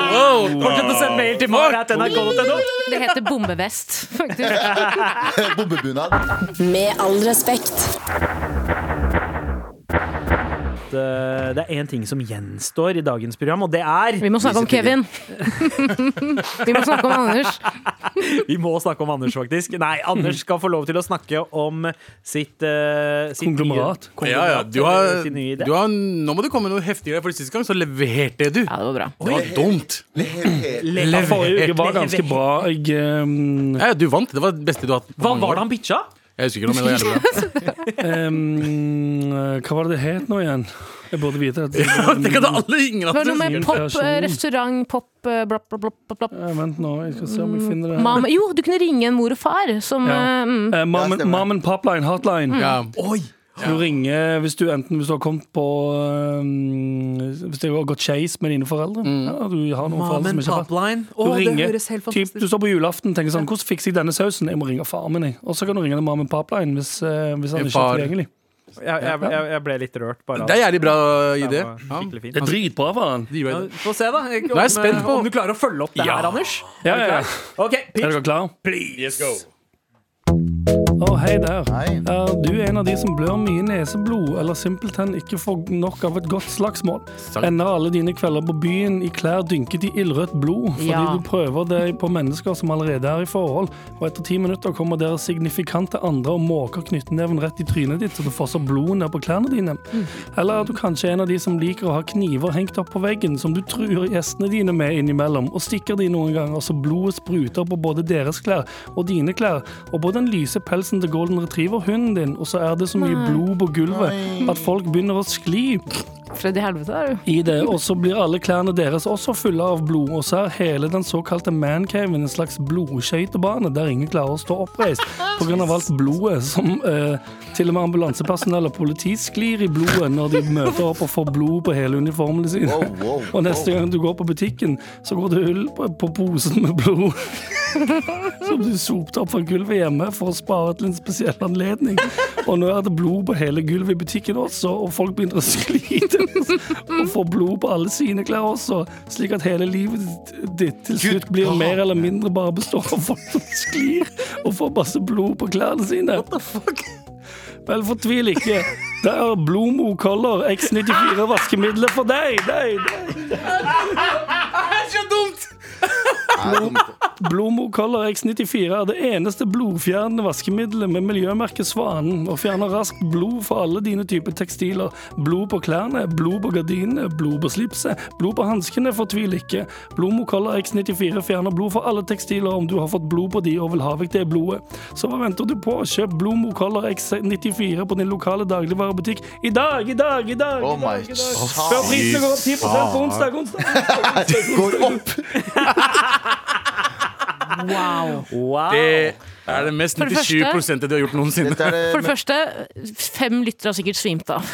[SPEAKER 4] Wow.
[SPEAKER 3] Fortsett å sende mail til mar.nrk.no.
[SPEAKER 7] Det heter bombevest, faktisk.
[SPEAKER 2] [LAUGHS] Bombebunad.
[SPEAKER 1] Med all respekt.
[SPEAKER 3] Eh, Det er én ting som gjenstår i dagens program, og det er
[SPEAKER 7] Vi må snakke om Kevin. [LAUGHS] Vi må snakke om Anders.
[SPEAKER 3] Vi må snakke om Anders, faktisk. Nei, Anders skal få lov til å snakke om sitt, eh, sitt nye-
[SPEAKER 5] Konglomerat.
[SPEAKER 4] Ja, ja. Du har,
[SPEAKER 3] eh, sin nye idé.
[SPEAKER 4] du har, nå må det komme noe heftigere, for sist gang så leverte du.
[SPEAKER 7] Ja, det var bra.
[SPEAKER 4] Det var dumt.
[SPEAKER 5] Ja, Forrige uke var
[SPEAKER 3] Levert.
[SPEAKER 5] ganske bra. Jeg, ehm,
[SPEAKER 4] Ja, ja, du vant. Det var det beste du har hatt. på
[SPEAKER 3] Hva
[SPEAKER 4] mange
[SPEAKER 3] var
[SPEAKER 4] år.
[SPEAKER 3] det han bitcha?
[SPEAKER 4] Jeg husker ikke, men det var jævlig bra.
[SPEAKER 5] ehm, hva var det det het nå igjen? Jeg burde
[SPEAKER 2] [LAUGHS]
[SPEAKER 5] vite at
[SPEAKER 4] Tenk at alle ingen
[SPEAKER 7] Det var
[SPEAKER 4] andre
[SPEAKER 7] noe med
[SPEAKER 5] Min
[SPEAKER 7] pop,
[SPEAKER 5] person.
[SPEAKER 7] eh, restaurant, pop, eh, bla, bla, bla, bla, bla.
[SPEAKER 5] Eh, Vent nå, jeg skal se om jeg finner det.
[SPEAKER 7] Mamma, jo, du kunne ringe en mor og far som
[SPEAKER 5] Ja.
[SPEAKER 7] eh, mm,
[SPEAKER 5] Eh, mom,
[SPEAKER 2] Ja,
[SPEAKER 5] and-
[SPEAKER 2] stemmer.
[SPEAKER 5] mom and Popline Hotline.
[SPEAKER 4] Ja.
[SPEAKER 5] Du ringer hvis du enten hvis du har kommet på eh, Hvis det har gått skeis med dine foreldre. Ja, du har noen foreldre som ikke har
[SPEAKER 3] Å,
[SPEAKER 5] Du
[SPEAKER 3] det
[SPEAKER 5] ringer,
[SPEAKER 3] høres helt
[SPEAKER 5] typ,
[SPEAKER 3] fantastisk
[SPEAKER 5] du står på julaften og tenker sånn Hvordan fikser jeg denne sausen? Jeg må ringe faren min. jeg. Og så kan du ringe til mom and Popline hvis, eh, hvis han
[SPEAKER 4] En
[SPEAKER 5] ikke
[SPEAKER 4] far.
[SPEAKER 5] er tilgjengelig.
[SPEAKER 3] Jeg, jeg, jeg, jeg ble litt rørt, bare. av
[SPEAKER 4] Det er jævlig bra idé.
[SPEAKER 3] Det var
[SPEAKER 4] Ja.
[SPEAKER 3] skikkelig fint.
[SPEAKER 5] Det er dritbra for han.
[SPEAKER 4] De var-
[SPEAKER 3] Ja, Få se, da. Jeg-
[SPEAKER 4] Nå er jeg spent på-
[SPEAKER 3] Om du klarer å følge opp det
[SPEAKER 4] Ja.
[SPEAKER 3] her, Anders.
[SPEAKER 5] Ja, ja, ja.
[SPEAKER 3] OK,
[SPEAKER 5] Er
[SPEAKER 3] pitch,
[SPEAKER 5] dere klare?
[SPEAKER 3] please.
[SPEAKER 5] Å, hei der.
[SPEAKER 2] Hei.
[SPEAKER 5] Er du en av de som blør mye neseblod, eller simpelthen ikke får nok av et godt slagsmål?
[SPEAKER 4] Sant.
[SPEAKER 5] Ender alle dine kvelder på byen i klær dynket i ildrødt blod, fordi
[SPEAKER 7] Ja.
[SPEAKER 5] du prøver deg på mennesker som allerede er i forhold, og etter ti minutter kommer deres signifikante andre og måker knyttneven rett i trynet ditt, så du fosser blod ned på klærne dine? Eller er du kanskje en av de som liker å ha kniver hengt opp på veggen, som du truer gjestene dine med innimellom, og stikker de noen ganger så blodet spruter på både deres klær og dine klær, og på den lyse pelsen til golden retriever hunden din, og så er det så mye blod på gulvet at folk begynner å skli
[SPEAKER 7] Freddy Helvete er du.
[SPEAKER 5] i det, og så blir alle klærne deres også fulle av blod, og så er hele den såkalte mancaven en slags blodskøytebane der ingen klarer å stå oppreist pga. alt blodet som eh, til og med ambulansepersonell og politi sklir i blodet når de møter opp og får blod på hele uniformene sine.
[SPEAKER 2] Wow, wow,
[SPEAKER 5] Og neste gang du går på butikken, så går det hull på, på posen med blod som du sopte opp fra gulvet hjemme for å spare til en spesiell anledning. Og nå er det blod på hele gulvet i butikken også, og folk begynner å slite og får blod på alle sine klær også, slik at hele livet ditt til slutt blir mer eller mindre bare består av folk som sklir og får masse blod på klærne sine. Vel, fortvil ikke. Det er Blomo Color X94 vaskemiddelet for deg. deg, deg.
[SPEAKER 2] Nei,
[SPEAKER 3] [LAUGHS]
[SPEAKER 2] det er dumt.
[SPEAKER 5] Blomo Color X94 er det eneste blodfjernende vaskemiddelet med miljømerket Svanen og fjerner raskt blod fra alle dine typer tekstiler. Blod på klærne, blod på gardinene, blod på slipset, blod på hanskene. Fortvil ikke. Blomo Color X94 fjerner blod fra alle tekstiler om du har fått blod på de og vil ha vekk det blodet. Så hva venter du på? Kjøp Blomo Color X94 på din lokale dagligvarebutikk i dag, i dag, i dag!
[SPEAKER 2] Oh
[SPEAKER 5] i
[SPEAKER 2] my
[SPEAKER 5] dag, i dag. Før
[SPEAKER 2] god.
[SPEAKER 5] prisene går opp 10 på onsdag, onsdag!
[SPEAKER 2] Det går opp!
[SPEAKER 4] Det er det mest
[SPEAKER 7] For det første-
[SPEAKER 4] 97 du har gjort noensinne.
[SPEAKER 2] Dette er det
[SPEAKER 7] For det første, fem lyttere har sikkert svimt
[SPEAKER 5] [LAUGHS]
[SPEAKER 7] av.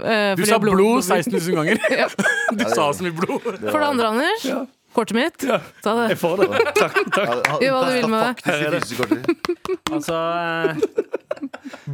[SPEAKER 7] [LAUGHS] Eh,
[SPEAKER 4] Du
[SPEAKER 7] fordi
[SPEAKER 4] sa
[SPEAKER 7] av blod-
[SPEAKER 4] blod 16 000
[SPEAKER 7] Ja.
[SPEAKER 4] ganger. Du sa så mye blod.
[SPEAKER 7] For det andre, Anders. Kortet mitt. Ta det.
[SPEAKER 5] Jeg får det. Takk, takk.
[SPEAKER 7] Gjør hva du vil med det.
[SPEAKER 2] Her er det.
[SPEAKER 3] Altså eh,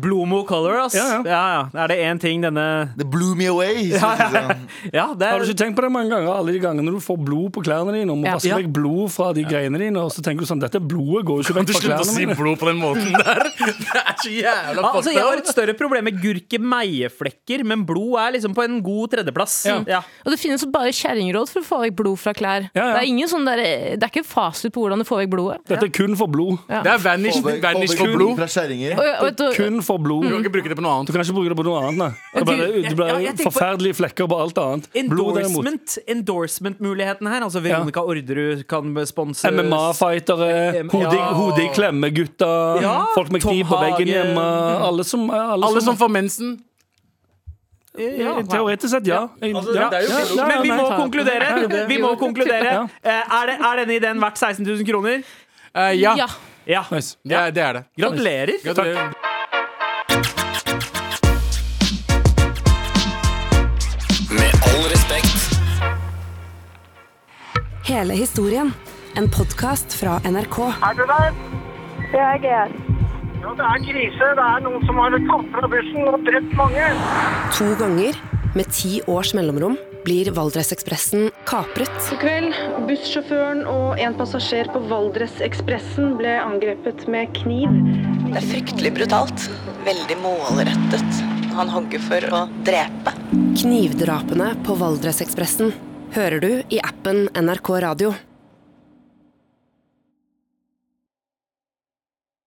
[SPEAKER 3] Blomo color, ass.
[SPEAKER 5] Ja, ja.
[SPEAKER 3] ja. Er det én ting denne
[SPEAKER 2] Det blew me away. synes jeg.
[SPEAKER 3] Ja, det
[SPEAKER 5] Har
[SPEAKER 3] er
[SPEAKER 5] du ikke tenkt på det mange ganger? Alle de gangene du får blod på klærne dine, og må
[SPEAKER 7] Ja.
[SPEAKER 5] vaske
[SPEAKER 3] Ja.
[SPEAKER 5] vekk blod fra de greiene dine, og så tenker du sånn Dette blodet går jo ikke
[SPEAKER 4] Kan
[SPEAKER 5] vekk
[SPEAKER 4] du
[SPEAKER 5] fra
[SPEAKER 4] slutte å
[SPEAKER 5] klærne
[SPEAKER 4] si
[SPEAKER 5] mine.
[SPEAKER 4] blod på den måten der? [LAUGHS] Det er så jævla
[SPEAKER 3] Ja, altså,
[SPEAKER 4] fucked
[SPEAKER 3] jeg har
[SPEAKER 4] up.
[SPEAKER 3] et større problem med gurke-meieflekker, men blod er liksom på en god tredjeplass.
[SPEAKER 5] Ja.
[SPEAKER 3] Ja.
[SPEAKER 7] Og det finnes jo bare kjerringråd for å få vekk blod fra klær.
[SPEAKER 5] Ja, ja.
[SPEAKER 7] Det er ingen sånn der, det er ikke en fasit på hvordan du får vekk blodet.
[SPEAKER 5] Dette er kun for blod.
[SPEAKER 4] Det er vanish,
[SPEAKER 2] Få vekk-
[SPEAKER 4] vanish
[SPEAKER 2] få
[SPEAKER 4] for
[SPEAKER 2] vekk
[SPEAKER 4] blod.
[SPEAKER 2] Fra kjerringer.
[SPEAKER 7] Og, og, vet du-
[SPEAKER 5] Kun for blod.
[SPEAKER 4] Du kan ikke bruke det på noe annet.
[SPEAKER 5] Du kan ikke bruke det på noe annet. Nei. Det blir,
[SPEAKER 3] du-
[SPEAKER 5] det blir
[SPEAKER 3] Mm. ja, jeg tenker på-
[SPEAKER 5] forferdelige flekker på alt annet. Blod derimot.
[SPEAKER 3] Endorsement, endorsement-muligheten her. Altså Veronica Orderud kan sponse
[SPEAKER 5] MMA-fightere,
[SPEAKER 3] M-
[SPEAKER 5] hode
[SPEAKER 3] ja.
[SPEAKER 5] hode i klemme-gutter,
[SPEAKER 3] Ja,
[SPEAKER 5] folk med
[SPEAKER 3] Tom
[SPEAKER 5] kniv på veggen
[SPEAKER 3] Hagen.
[SPEAKER 5] hjemme Alle som, alle
[SPEAKER 4] Alle som
[SPEAKER 5] som
[SPEAKER 4] får mensen.
[SPEAKER 3] Ja, wow. Altså,
[SPEAKER 5] Teoretisk sett, ja. ja. Ja, ja,
[SPEAKER 3] Men vi
[SPEAKER 5] nei.
[SPEAKER 3] må konkludere. Vi må konkludere.
[SPEAKER 5] Ja.
[SPEAKER 3] Eh, Er, det, er denne ideen verdt 16 000 kroner?
[SPEAKER 4] Eh, ja,
[SPEAKER 7] ja.
[SPEAKER 3] Ja.
[SPEAKER 5] Nice.
[SPEAKER 4] det er det. Er det.
[SPEAKER 3] Gratulerer.
[SPEAKER 4] Gratulerer.
[SPEAKER 6] Med all respekt.
[SPEAKER 8] Hele historien. En podkast fra NRK.
[SPEAKER 9] Er du der?
[SPEAKER 10] Det er GS.
[SPEAKER 9] Ja, det er krise. Det er noen som har tatt fra bussen og drept mange.
[SPEAKER 8] To ganger, med ti års mellomrom, blir Valdresekspressen kapret.
[SPEAKER 10] I kveld, bussjåføren og en passasjer på Valdresekspressen ble angrepet med kniv.
[SPEAKER 11] Det er fryktelig brutalt. Veldig målrettet. Han hogger for å drepe.
[SPEAKER 8] Knivdrapene på Valdresekspressen hører du i appen NRK Radio.